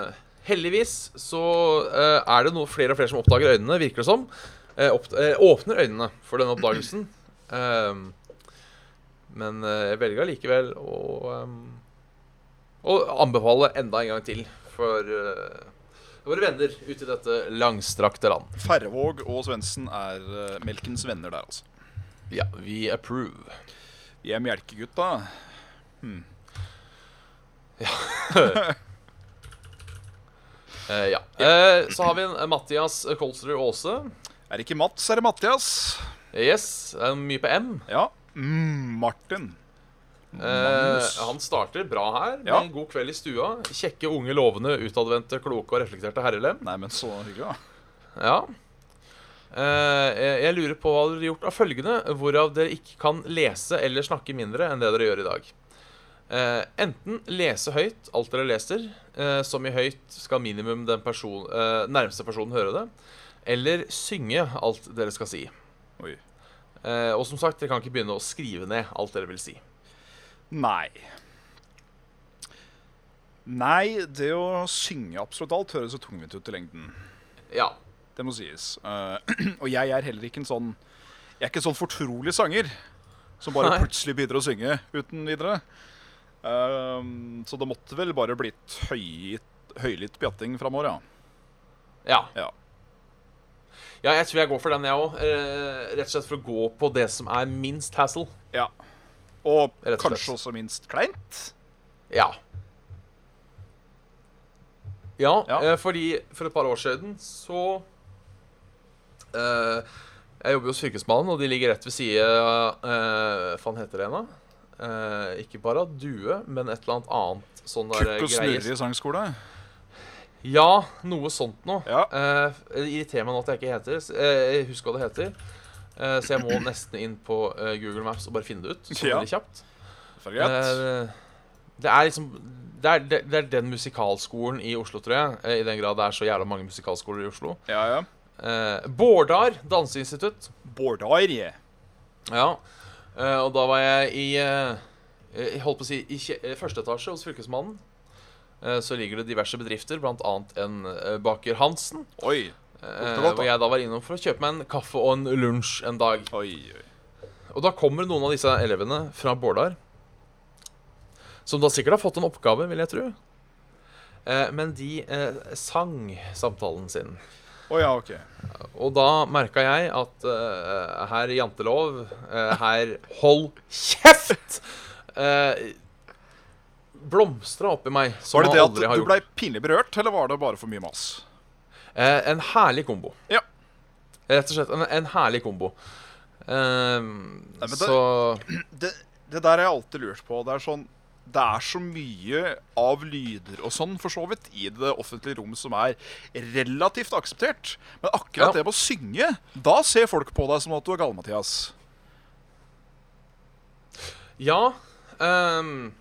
[SPEAKER 2] eh, heldigvis så eh, er det noe flere og flere som oppdager øynene, virker det som. Eh, opp, eh, åpner øynene for denne oppdagelsen. Ehm, men eh, jeg velger allikevel å ehm, Å anbefale enda en gang til for eh, våre venner ute i dette langstrakte land.
[SPEAKER 3] Færrevåg og Svendsen er eh, melkens venner der, altså.
[SPEAKER 2] Ja, vi approve.
[SPEAKER 3] Vi er melkegutta.
[SPEAKER 2] Eh, ja. Eh, så har vi en eh, Mathias Kolsrud Aase.
[SPEAKER 3] Er det ikke Mats, er det Mathias?
[SPEAKER 2] Yes, eh, mye på M.
[SPEAKER 3] Ja. Mm, Martin.
[SPEAKER 2] Eh,
[SPEAKER 3] Magnus.
[SPEAKER 2] han starter bra her, med
[SPEAKER 3] Ja.
[SPEAKER 2] en god kveld i stua. Kjekke, unge, lovende, utadvendte, kloke og reflekterte herrelem.
[SPEAKER 3] Nei, men så hyggelig, da.
[SPEAKER 2] Ja. Eh, jeg- jeg lurer på hva dere har gjort av følgende, hvorav dere ikke kan lese eller snakke mindre enn det dere gjør i dag. Eh, enten lese høyt alt dere leser, eh, som i høyt skal minimum den person, eh, nærmeste personen høre det, eller synge alt dere skal si.
[SPEAKER 3] Oi.
[SPEAKER 2] Eh, og som sagt, dere kan ikke begynne å skrive ned alt dere vil si.
[SPEAKER 3] Nei. Nei, det å synge absolutt alt høres så tungvint ut i lengden.
[SPEAKER 2] Ja.
[SPEAKER 3] Det må sies. Eh, og jeg er heller ikke en sånn Jeg er ikke en sånn fortrolig sanger som bare
[SPEAKER 2] Nei.
[SPEAKER 3] plutselig begynner å synge uten videre. Ehm, så det måtte vel bare blitt høylytt høylytt pjatting framover, ja.
[SPEAKER 2] Ja.
[SPEAKER 3] Ja.
[SPEAKER 2] ja, jeg tror jeg går for den, jeg òg. Eh, rett og slett for å gå på det som er minst hassle.
[SPEAKER 3] ja. Og
[SPEAKER 2] Rett og slett.
[SPEAKER 3] kanskje også minst kleint.
[SPEAKER 2] Ja. Ja,
[SPEAKER 3] Ja.
[SPEAKER 2] eh, fordi for et par år siden så eh, Jeg jobber hos Fylkesmannen, og de ligger rett ved side av eh, Faen, heter det ennå? Eh, ikke bare due, men et eller annet annet sånn der
[SPEAKER 3] Kurt og
[SPEAKER 2] greie.
[SPEAKER 3] Snurre i sangskole.
[SPEAKER 2] Ja, noe sånt noe.
[SPEAKER 3] Ja.
[SPEAKER 2] Eh, det irriterer meg nå at jeg ikke heter det. Jeg husker hva det heter. Eh, så jeg må nesten inn på eh, Google Maps og bare finne det ut. Så
[SPEAKER 3] Ja.
[SPEAKER 2] veldig kjapt.
[SPEAKER 3] For greit.
[SPEAKER 2] Eh, det er liksom det er, det, det er den musikalskolen i Oslo, tror jeg. eh, I den grad det er så jævla mange musikalskoler i Oslo.
[SPEAKER 3] Ja, ja.
[SPEAKER 2] Eh, Bårdar danseinstitutt.
[SPEAKER 3] Bårdar. ja.
[SPEAKER 2] Ja. Eh, og da var jeg i eh, Jeg holdt på å si i kje- eh, første etasje hos Fylkesmannen. Eh, så ligger det diverse bedrifter, bl.a. en eh, baker Hansen.
[SPEAKER 3] Oi,
[SPEAKER 2] Eh,
[SPEAKER 3] godt, da.
[SPEAKER 2] hvor jeg da var innom for å kjøpe meg en kaffe og en lunsj en dag.
[SPEAKER 3] oi, oi.
[SPEAKER 2] Og da kommer noen av disse elevene fra Bårdar, som da sikkert har fått en oppgave, vil jeg tro. Eh, men de eh, sang samtalen sin.
[SPEAKER 3] Å ja, OK.
[SPEAKER 2] Og da merka jeg at eh, herr Jantelov, eh, herr Hold kjeft! Eh, Blomstra oppi meg. Som
[SPEAKER 3] Var det det
[SPEAKER 2] han
[SPEAKER 3] at
[SPEAKER 2] aldri har
[SPEAKER 3] du
[SPEAKER 2] gjort.
[SPEAKER 3] blei pinlig berørt, eller var det bare for mye mas?
[SPEAKER 2] Eh, en herlig kombo.
[SPEAKER 3] Ja.
[SPEAKER 2] Rett og slett en, en herlig kombo. Ehm,
[SPEAKER 3] Nei, men det-
[SPEAKER 2] så
[SPEAKER 3] det, det der har jeg alltid lurt på. Det er sånn det er så mye av lyder og sånn for så vidt i det offentlige rom som er relativt akseptert. Men akkurat
[SPEAKER 2] Ja.
[SPEAKER 3] det med å synge, da ser folk på deg som at du er gal, Mathias.
[SPEAKER 2] Ja. ehm,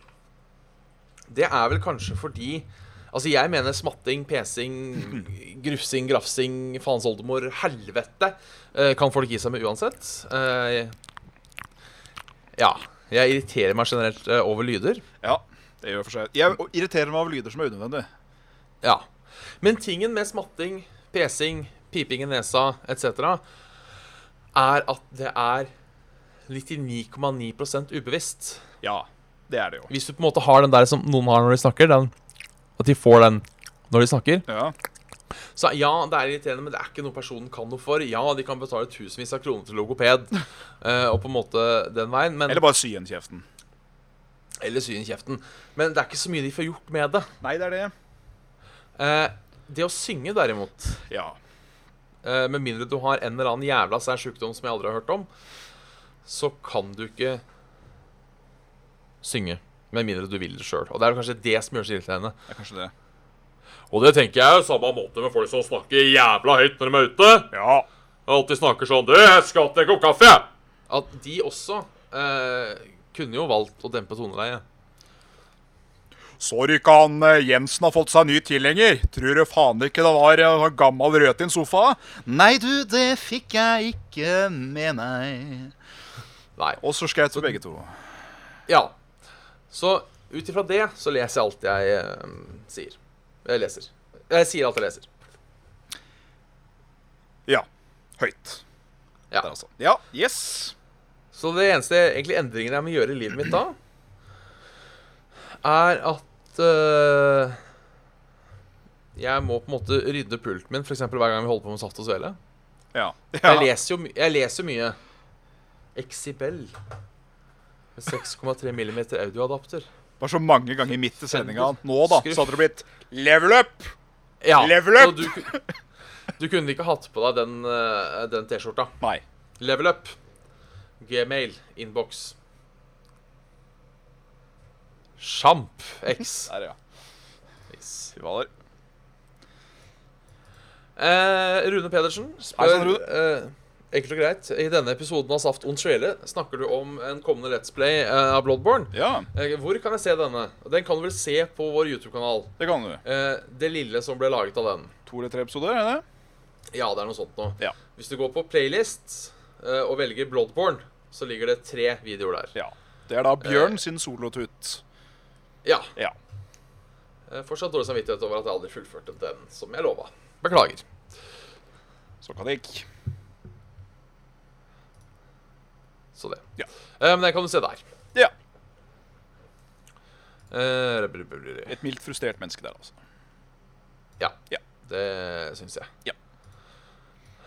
[SPEAKER 2] det er vel kanskje fordi Altså, jeg mener smatting, pesing, grufsing, grafsing, faens oldemor, helvete eh, kan folk gi seg med uansett. Eh, ja. Jeg irriterer meg generelt eh, over lyder.
[SPEAKER 3] Ja, det gjør for seg. Jeg irriterer meg av lyder som er unødvendig.
[SPEAKER 2] Ja. Men tingen med smatting, pesing, piping i nesa etc. er at det er 99,9 ubevisst.
[SPEAKER 3] Ja, det er det jo.
[SPEAKER 2] Hvis du på en måte har den der som noen har når de snakker, den, at de får den når de snakker
[SPEAKER 3] Ja,
[SPEAKER 2] Så ja, det er irriterende, men det er ikke noe personen kan noe for. Ja, de kan betale tusenvis av kroner til logoped eh, og på en måte den veien, men
[SPEAKER 3] Eller bare sy igjen kjeften.
[SPEAKER 2] Eller sy inn kjeften. Men det er ikke så mye de får gjort med det.
[SPEAKER 3] Nei, det er det.
[SPEAKER 2] Eh, det å synge, derimot
[SPEAKER 3] Ja.
[SPEAKER 2] Eh, Med mindre du har en eller annen jævla sær sjukdom som jeg aldri har hørt om, så kan du ikke synge. Med mindre du vil det sjøl. Og det er jo kanskje det som gjør seg irriterende.
[SPEAKER 3] Det er kanskje det.
[SPEAKER 2] Og det tenker jeg er jo samme måte med folk som snakker jævla høyt når de er ute.
[SPEAKER 3] Ja.
[SPEAKER 2] Og alltid snakker sånn Du, jeg skal til en kopp kaffe! At de også eh, kunne jo valgt å dempe toneleiet.
[SPEAKER 3] Sorry ikke han eh, Jensen har fått seg ny tilhenger. Tror du faen ikke det var eh, en gammel rød til en sofa? Nei du, det fikk jeg ikke med meg.
[SPEAKER 2] Nei.
[SPEAKER 3] Og så skal jeg til begge to.
[SPEAKER 2] Ja. Så ut ifra det så leser jeg alt jeg eh, sier. Jeg leser. Jeg sier alt jeg leser.
[SPEAKER 3] Ja. Høyt.
[SPEAKER 2] Ja.
[SPEAKER 3] Der altså. Ja, yes.
[SPEAKER 2] Så det eneste egentlig endringen jeg må gjøre i livet mitt da, er at øh, jeg må på en måte rydde pulten min, f.eks. hver gang vi holder på med Saft og Svele.
[SPEAKER 3] Ja.
[SPEAKER 2] Jeg
[SPEAKER 3] ja.
[SPEAKER 2] leser jo, my- jeg leser mye. Exibel. Med 6,3 mm audioadapter.
[SPEAKER 3] Var så mange ganger midt i sendinga. Nå, da,
[SPEAKER 2] Skrift.
[SPEAKER 3] så hadde det blitt level up.
[SPEAKER 2] Ja,
[SPEAKER 3] Level up!
[SPEAKER 2] og Du, ku- du kunne ikke hatt på deg den, øh, den T-skjorta.
[SPEAKER 3] Nei.
[SPEAKER 2] Level up. Gmail. Innboks. Sjamp X.
[SPEAKER 3] Der, ja.
[SPEAKER 2] Yes.
[SPEAKER 3] Fy fader.
[SPEAKER 2] Eh, Rune Pedersen
[SPEAKER 3] Hei sann,
[SPEAKER 2] spør eh, Enkelt og greit. I denne episoden av Saft und Svele snakker du om en kommende Let's Play eh, av Bloodborne.
[SPEAKER 3] Ja,
[SPEAKER 2] Eh, hvor kan jeg se denne? Den kan du vel se på vår YouTube-kanal.
[SPEAKER 3] det kan du.
[SPEAKER 2] Eh, det lille som ble laget av den.
[SPEAKER 3] To eller tre episoder, er det det?
[SPEAKER 2] Ja, det er noe sånt noe.
[SPEAKER 3] Ja.
[SPEAKER 2] Hvis du går på playlist eh, og velger Bloodborne, så ligger det tre videoer der.
[SPEAKER 3] Ja. Det er da Bjørn sin solotut.
[SPEAKER 2] Ja.
[SPEAKER 3] Ja.
[SPEAKER 2] Eh, fortsatt dårlig samvittighet over at jeg aldri fullførte den som jeg lova. Beklager.
[SPEAKER 3] Så kan det ikke.
[SPEAKER 2] Så det.
[SPEAKER 3] Ja.
[SPEAKER 2] Eh, men den kan du se der.
[SPEAKER 3] Ja.
[SPEAKER 2] Eh, rub- rub- rub- rub.
[SPEAKER 3] Et mildt frustrert menneske der, altså.
[SPEAKER 2] Ja.
[SPEAKER 3] Ja.
[SPEAKER 2] Det syns jeg.
[SPEAKER 3] Ja.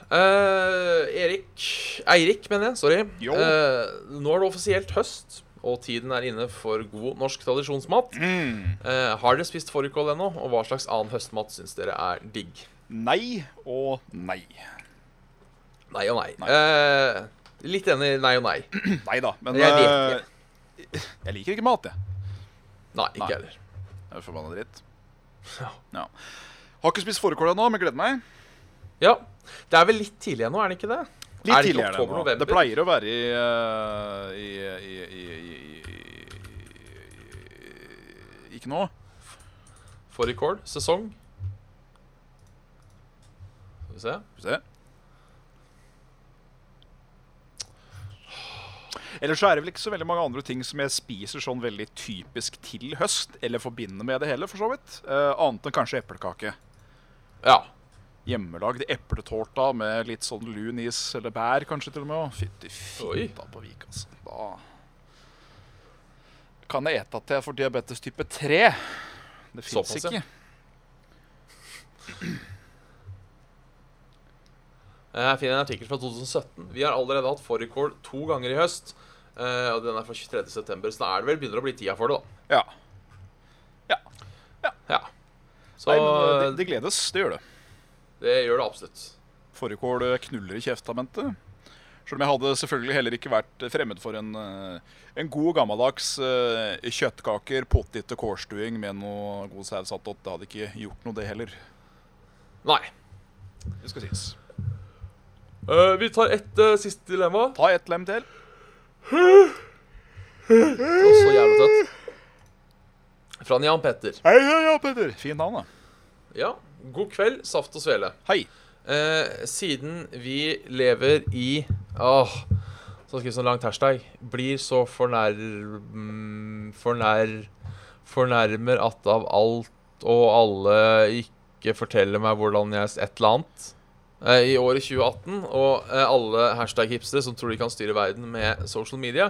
[SPEAKER 2] Eh, Erik Eirik, mener jeg. Sorry.
[SPEAKER 3] Jo.
[SPEAKER 2] Eh, nå er det offisielt høst, og tiden er inne for god norsk tradisjonsmat.
[SPEAKER 3] Mm.
[SPEAKER 2] Eh, har dere spist fårikål ennå, og hva slags annen høstmat syns dere er digg?
[SPEAKER 3] Nei og nei.
[SPEAKER 2] Nei og nei. Eh, litt enig i nei og nei.
[SPEAKER 3] Nei da, men
[SPEAKER 2] Jeg vet
[SPEAKER 3] eh, jeg liker ikke mat, jeg.
[SPEAKER 2] Nei, ikke
[SPEAKER 3] Nei.
[SPEAKER 2] heller.
[SPEAKER 3] Jeg er forbanna dritt.
[SPEAKER 2] Ja.
[SPEAKER 3] Ja. Har ikke spist fårikål ennå, men gleder meg.
[SPEAKER 2] Ja, Det er vel litt tidlig ennå, er det ikke det?
[SPEAKER 3] Litt
[SPEAKER 2] er det ikke
[SPEAKER 3] tidligere enn nå.
[SPEAKER 2] oktober-november?
[SPEAKER 3] Det pleier å være i, eh, i, i, i, i, i Ikke nå.
[SPEAKER 2] Fårikål, sesong. Skal vi se.
[SPEAKER 3] Skal vi se. Ellers så er det vel ikke så veldig mange andre ting som jeg spiser sånn veldig typisk til høst, eller forbinder med det hele, for så vidt. Eh, annet enn kanskje eplekake.
[SPEAKER 2] Ja.
[SPEAKER 3] Hjemmelagd epletårta med litt sånn lun is eller bær, kanskje til og med. og Fytti
[SPEAKER 2] Oi.
[SPEAKER 3] fitta på Vik, altså. Da kan jeg ete til jeg får diabetes type 3. Det fins
[SPEAKER 2] Såpass, ja.
[SPEAKER 3] ikke.
[SPEAKER 2] Jeg finner en artikkel fra 2017. Vi har allerede hatt fårikål to ganger i høst. eh, og Den er fra 23. september, så da er det vel begynner å bli tida for det, da.
[SPEAKER 3] Ja.
[SPEAKER 2] Ja. Så
[SPEAKER 3] Nei, men eh, det, det gledes. Det gjør det.
[SPEAKER 2] det gjør det absolutt.
[SPEAKER 3] Fårikål eh, knuller i kjeftamentet. Selv om jeg hadde selvfølgelig heller ikke vært fremmed for en, eh, en god gammeldags eh, kjøttkaker, potet og kårstuing med noe god saus attåt. Det hadde ikke gjort noe, det heller.
[SPEAKER 2] Nei.
[SPEAKER 3] Det skal sies.
[SPEAKER 2] Eh, vi tar ett eh, siste dilemma.
[SPEAKER 3] Ta ett lem til.
[SPEAKER 2] Og så jævlig tøtt. Fra Jan Petter.
[SPEAKER 3] Hei, hei, ja, Petter. Fint navn, da.
[SPEAKER 2] Ja. God kveld, saft og svele.
[SPEAKER 3] Hei.
[SPEAKER 2] Eh, siden vi lever i Åh, så skrives det en sånn langt hashtag. Blir så fornær... mm, Fornær... Fornærmer at av alt og alle ikke forteller meg hvordan jeg s- Et eller annet. Eh, I året 2018, og eh, alle hashtag-hipstere som tror de kan styre verden med social media,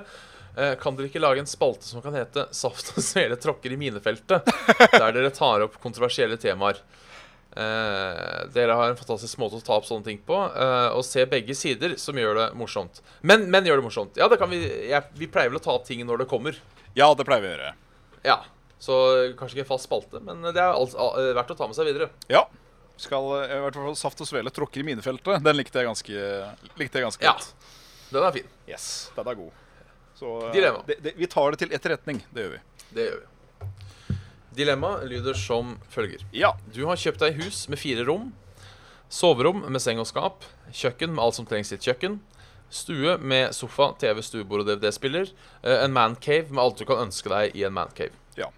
[SPEAKER 2] eh, kan dere ikke lage en spalte som kan hete 'Saft og svele tråkker i minefeltet', der dere tar opp kontroversielle temaer? Eh, dere har en fantastisk måte å ta opp sånne ting på, eh, og se begge sider, som gjør det morsomt. Men, men gjør det morsomt. Ja, det kan vi, jeg, vi pleier vel å ta opp ting når det kommer.
[SPEAKER 3] Ja, det pleier vi å gjøre.
[SPEAKER 2] Ja, Så eh, kanskje ikke en fast spalte, men det er alt, al- eh, verdt å ta med seg videre.
[SPEAKER 3] Ja. Skal eh, i hvert fall Saft og Svele tråkker i minefeltet. Den likte jeg ganske, likte jeg ganske
[SPEAKER 2] Ja,
[SPEAKER 3] godt.
[SPEAKER 2] Den er fin.
[SPEAKER 3] Yes, den er god. Så eh,
[SPEAKER 2] Dilemma.
[SPEAKER 3] Det, det, vi tar det til etterretning. Det gjør vi.
[SPEAKER 2] Det gjør vi. Dilemmaet lyder som følger.
[SPEAKER 3] Ja.
[SPEAKER 2] Du har kjøpt deg hus med fire rom, soverom med seng og skap, kjøkken med alt som trengs i et kjøkken, stue med sofa, TV, stuebord og DVD-spiller, eh, en mancave med alt du kan ønske deg i en mancave.
[SPEAKER 3] Ja.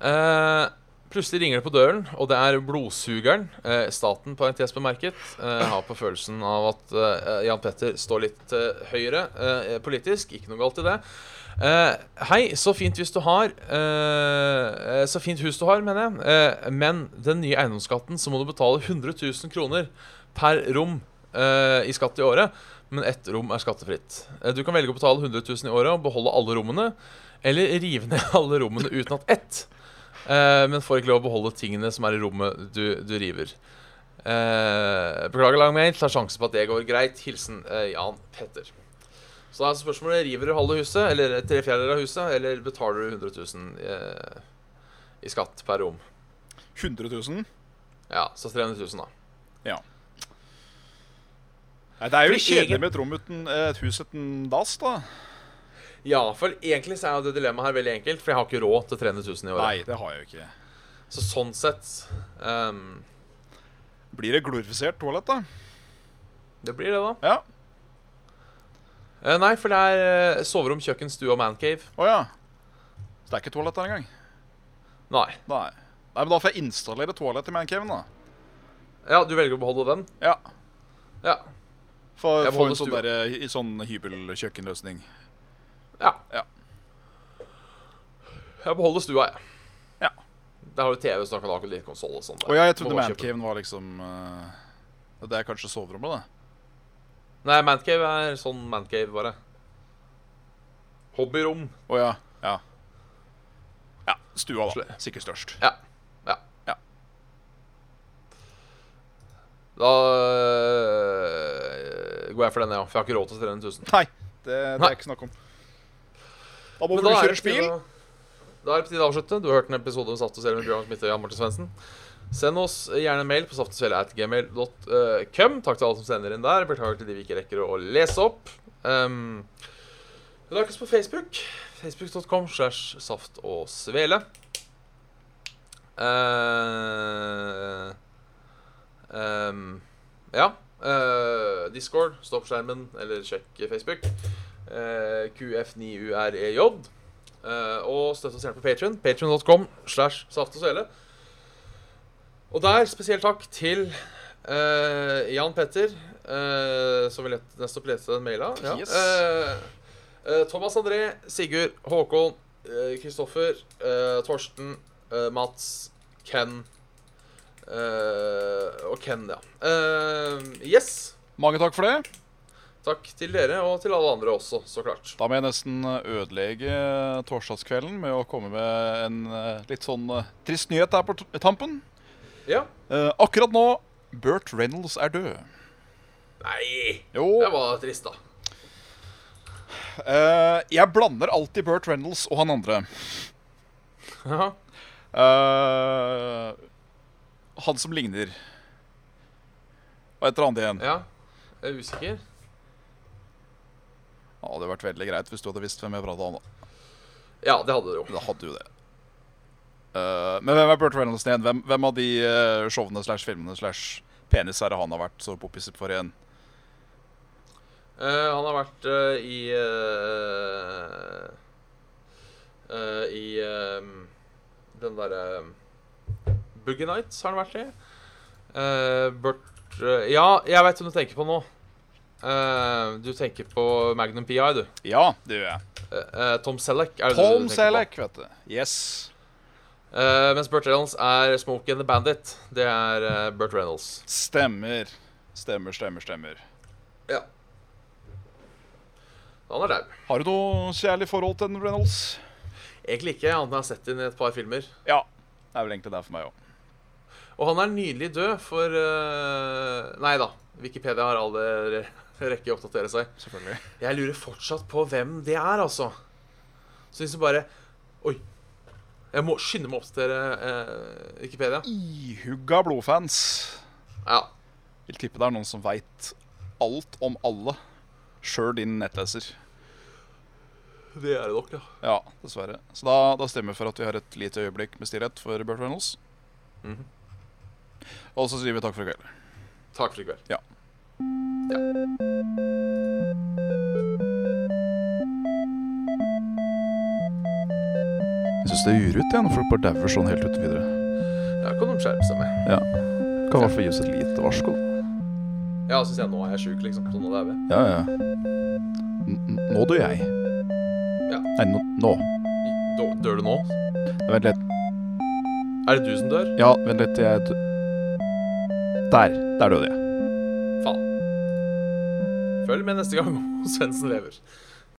[SPEAKER 2] Eh, plutselig ringer det på døren, og det er blodsugeren, eh, staten parentes bemerket, eh, har på følelsen av at eh, Jan Petter står litt til høyre eh, politisk, ikke noe galt i det. Eh, hei, så fint hvis du har eh, eh, Så fint hus du har, mener jeg. Eh, men den nye eiendomsskatten, så må du betale 100 000 kroner per rom eh, i skatt i året. Men ett rom er skattefritt. Eh, du kan velge å betale 100 000 i året og beholde alle rommene. Eller rive ned alle rommene uten at ett. Eh, men får ikke lov å beholde tingene som er i rommet du, du river. Eh, beklager lang mail, tar sjansen på at det går greit. Hilsen eh, Jan Petter. Så da er spørsmålet river du halve huset, eller tre fjerdedeler av huset, eller betaler du 100 000 eh, i skatt per rom?
[SPEAKER 3] 100 000.
[SPEAKER 2] Ja, så 300 000, da.
[SPEAKER 3] Nei, det er jo litt
[SPEAKER 2] For
[SPEAKER 3] kjedelig
[SPEAKER 2] egen-
[SPEAKER 3] med et rom uten eh, et hus uten dass, da.
[SPEAKER 2] Ja, for egentlig så er jo det dilemmaet her veldig enkelt, for jeg har ikke råd til 300 000 i året.
[SPEAKER 3] Nei, det har jeg jo ikke.
[SPEAKER 2] Så sånn sett ehm,
[SPEAKER 3] Blir det glorifisert toalett, da?
[SPEAKER 2] Det blir det, da.
[SPEAKER 3] Ja.
[SPEAKER 2] Eh, nei, for det er eh, soverom, kjøkken, stue og mancave.
[SPEAKER 3] Å ja. Så det er ikke toalett der engang?
[SPEAKER 2] Nei.
[SPEAKER 3] Nei. Nei, men da får jeg installere toalett i mancaven, da.
[SPEAKER 2] Ja, du velger å beholde den?
[SPEAKER 3] Ja.
[SPEAKER 2] Ja.
[SPEAKER 3] For
[SPEAKER 2] Jeg
[SPEAKER 3] få en
[SPEAKER 2] beholder
[SPEAKER 3] sånn,
[SPEAKER 2] stua.
[SPEAKER 3] der, eh, i sånn hybelkjøkkenløsning.
[SPEAKER 2] ja.
[SPEAKER 3] Ja.
[SPEAKER 2] Jeg beholder stua, jeg.
[SPEAKER 3] Ja.
[SPEAKER 2] Der har du TV, så da kan du ha litt konsoll og sånn. der.
[SPEAKER 3] Å ja, jeg
[SPEAKER 2] Må
[SPEAKER 3] trodde
[SPEAKER 2] bare kjøpe den.
[SPEAKER 3] mancaven var liksom eh, Det er kanskje soverommet, det.
[SPEAKER 2] Nei, mancave er sånn mancave, bare. Hobbyrom.
[SPEAKER 3] Å ja. Ja. ja. Stua, da.
[SPEAKER 2] Sle-
[SPEAKER 3] Sikkert størst.
[SPEAKER 2] Ja. Ja.
[SPEAKER 3] Ja.
[SPEAKER 2] Da øh, går jeg for den, ja. For jeg har ikke råd til 300 000.
[SPEAKER 3] Nei, det, det
[SPEAKER 2] Nei.
[SPEAKER 3] er ikke snakk om. Da må
[SPEAKER 2] Men
[SPEAKER 3] du
[SPEAKER 2] da er
[SPEAKER 3] kjøre
[SPEAKER 2] det på
[SPEAKER 3] spill.
[SPEAKER 2] tide å- Da er det på tide å avslutte. Du har hørt en episode om Saft og Svele med Bjørn Smitte og Jan Martin Svendsen. Send oss gjerne en mail på saftogsvele.gmail.com. Takk til alle som sender inn der. Beklager til de vi ikke rekker å lese opp. Um, Lag oss på Facebook. Facebook.com slash saft og svele. Eh, ehm, ja. eh, Discord, stopp skjermen, eller sjekk Facebook. Eh, QF9UREJ. E Eh, og støtt oss gjerne på Patreon Patreon.com slash saft og svele. Og der spesiell takk til eh, Jan Petter, eh, som vil let- nettopp lese den maila. Ja.
[SPEAKER 3] Yes.
[SPEAKER 2] Eh, Eh, Thomas André, Sigurd, Håkon, eh, Kristoffer, eh, Torsten, eh, Mats, Ken eh, Og Ken, ja. Eh, yes.
[SPEAKER 3] Mange takk for det.
[SPEAKER 2] Takk til dere og til alle andre også, så klart.
[SPEAKER 3] Da må jeg nesten eh, ødelegge eh, torsdagskvelden med å komme med en eh, litt sånn eh, trist nyhet her på t- tampen.
[SPEAKER 2] Ja.
[SPEAKER 3] Eh, akkurat nå Burt Reynolds er død.
[SPEAKER 2] Nei!
[SPEAKER 3] Jo,
[SPEAKER 2] Det var trist, da.
[SPEAKER 3] eh, jeg blander alltid Burt Reynolds og han andre.
[SPEAKER 2] Ja.
[SPEAKER 3] Eh, han som ligner. Hva heter han igjen? Ja.
[SPEAKER 2] ja. Jeg er usikker.
[SPEAKER 3] Det hadde vært veldig greit hvis du hadde visst hvem jeg prata om. da.
[SPEAKER 2] Ja, det hadde dere jo.
[SPEAKER 3] Da hadde jo det. Eh, men hvem er Burt Reynolds igjen? Hvem, hvem av de eh, showene slash filmene slash penis er det han har vært så poppis for igjen?
[SPEAKER 2] Eh, han har vært eh, i eh, eh, I eh, den derre eh, Boogie Nights har han vært i. Eh, Burt eh, Ja, jeg veit hvem du tenker på nå. Eh, du tenker på Magnum PI, du.
[SPEAKER 3] Ja, det gjør jeg.
[SPEAKER 2] Eh, eh, Tom Selleck. Er det det du
[SPEAKER 3] Tom
[SPEAKER 2] tenker på?
[SPEAKER 3] Selleck, vet du. Yes.
[SPEAKER 2] Eh, mens Burt Reynolds er Smokey and the Bandit. Det er eh, Burt Reynolds.
[SPEAKER 3] Stemmer. Stemmer, stemmer, stemmer.
[SPEAKER 2] Ja. Han er daud.
[SPEAKER 3] Har du noe kjærlig forhold til den Reynolds?
[SPEAKER 2] Egentlig ikke, annet enn jeg har sett inn i et par filmer.
[SPEAKER 3] Ja. Det er vel egentlig det for meg òg.
[SPEAKER 2] Og han er nylig død for eh, Nei da, Wikipedia har aldri rekke å oppdatere seg.
[SPEAKER 3] Selvfølgelig.
[SPEAKER 2] Jeg lurer fortsatt på hvem det er, altså. Så hvis du bare Oi. Jeg må skynde meg å oppdatere eh, Wikipedia.
[SPEAKER 3] Ihugga blodfans.
[SPEAKER 2] Ja.
[SPEAKER 3] Vil tippe det er noen som veit alt om alle. Sjøl din nettleser.
[SPEAKER 2] Det er det nok, ja.
[SPEAKER 3] Ja, dessverre. Så da, da stemmer for at vi har et lite øyeblikk med stillhet for Burt Reynolds.
[SPEAKER 2] Mhm.
[SPEAKER 3] Og så sier vi takk for i kveld.
[SPEAKER 2] Takk for i kveld.
[SPEAKER 3] Ja.
[SPEAKER 2] ja.
[SPEAKER 3] Jeg syns det er urutt jeg, når folk bare dauer sånn helt uten videre.
[SPEAKER 2] Ja, kan de skjerpe seg med.
[SPEAKER 3] Kan i hvert fall gi oss et lite varsko.
[SPEAKER 2] Ja, syns jeg nå er jeg sjuk, liksom. Så nå dauer jeg.
[SPEAKER 3] Ja, ja. N n- nå dør jeg.
[SPEAKER 2] Ja.
[SPEAKER 3] Nei, nå. nå.
[SPEAKER 2] Dø- Dør du nå?
[SPEAKER 3] Vent litt.
[SPEAKER 2] Er det du som dør?
[SPEAKER 3] Ja, vent litt. Jeg dø- Der. Der døde jeg.
[SPEAKER 2] Faen. Følg med neste gang om Svendsen lever.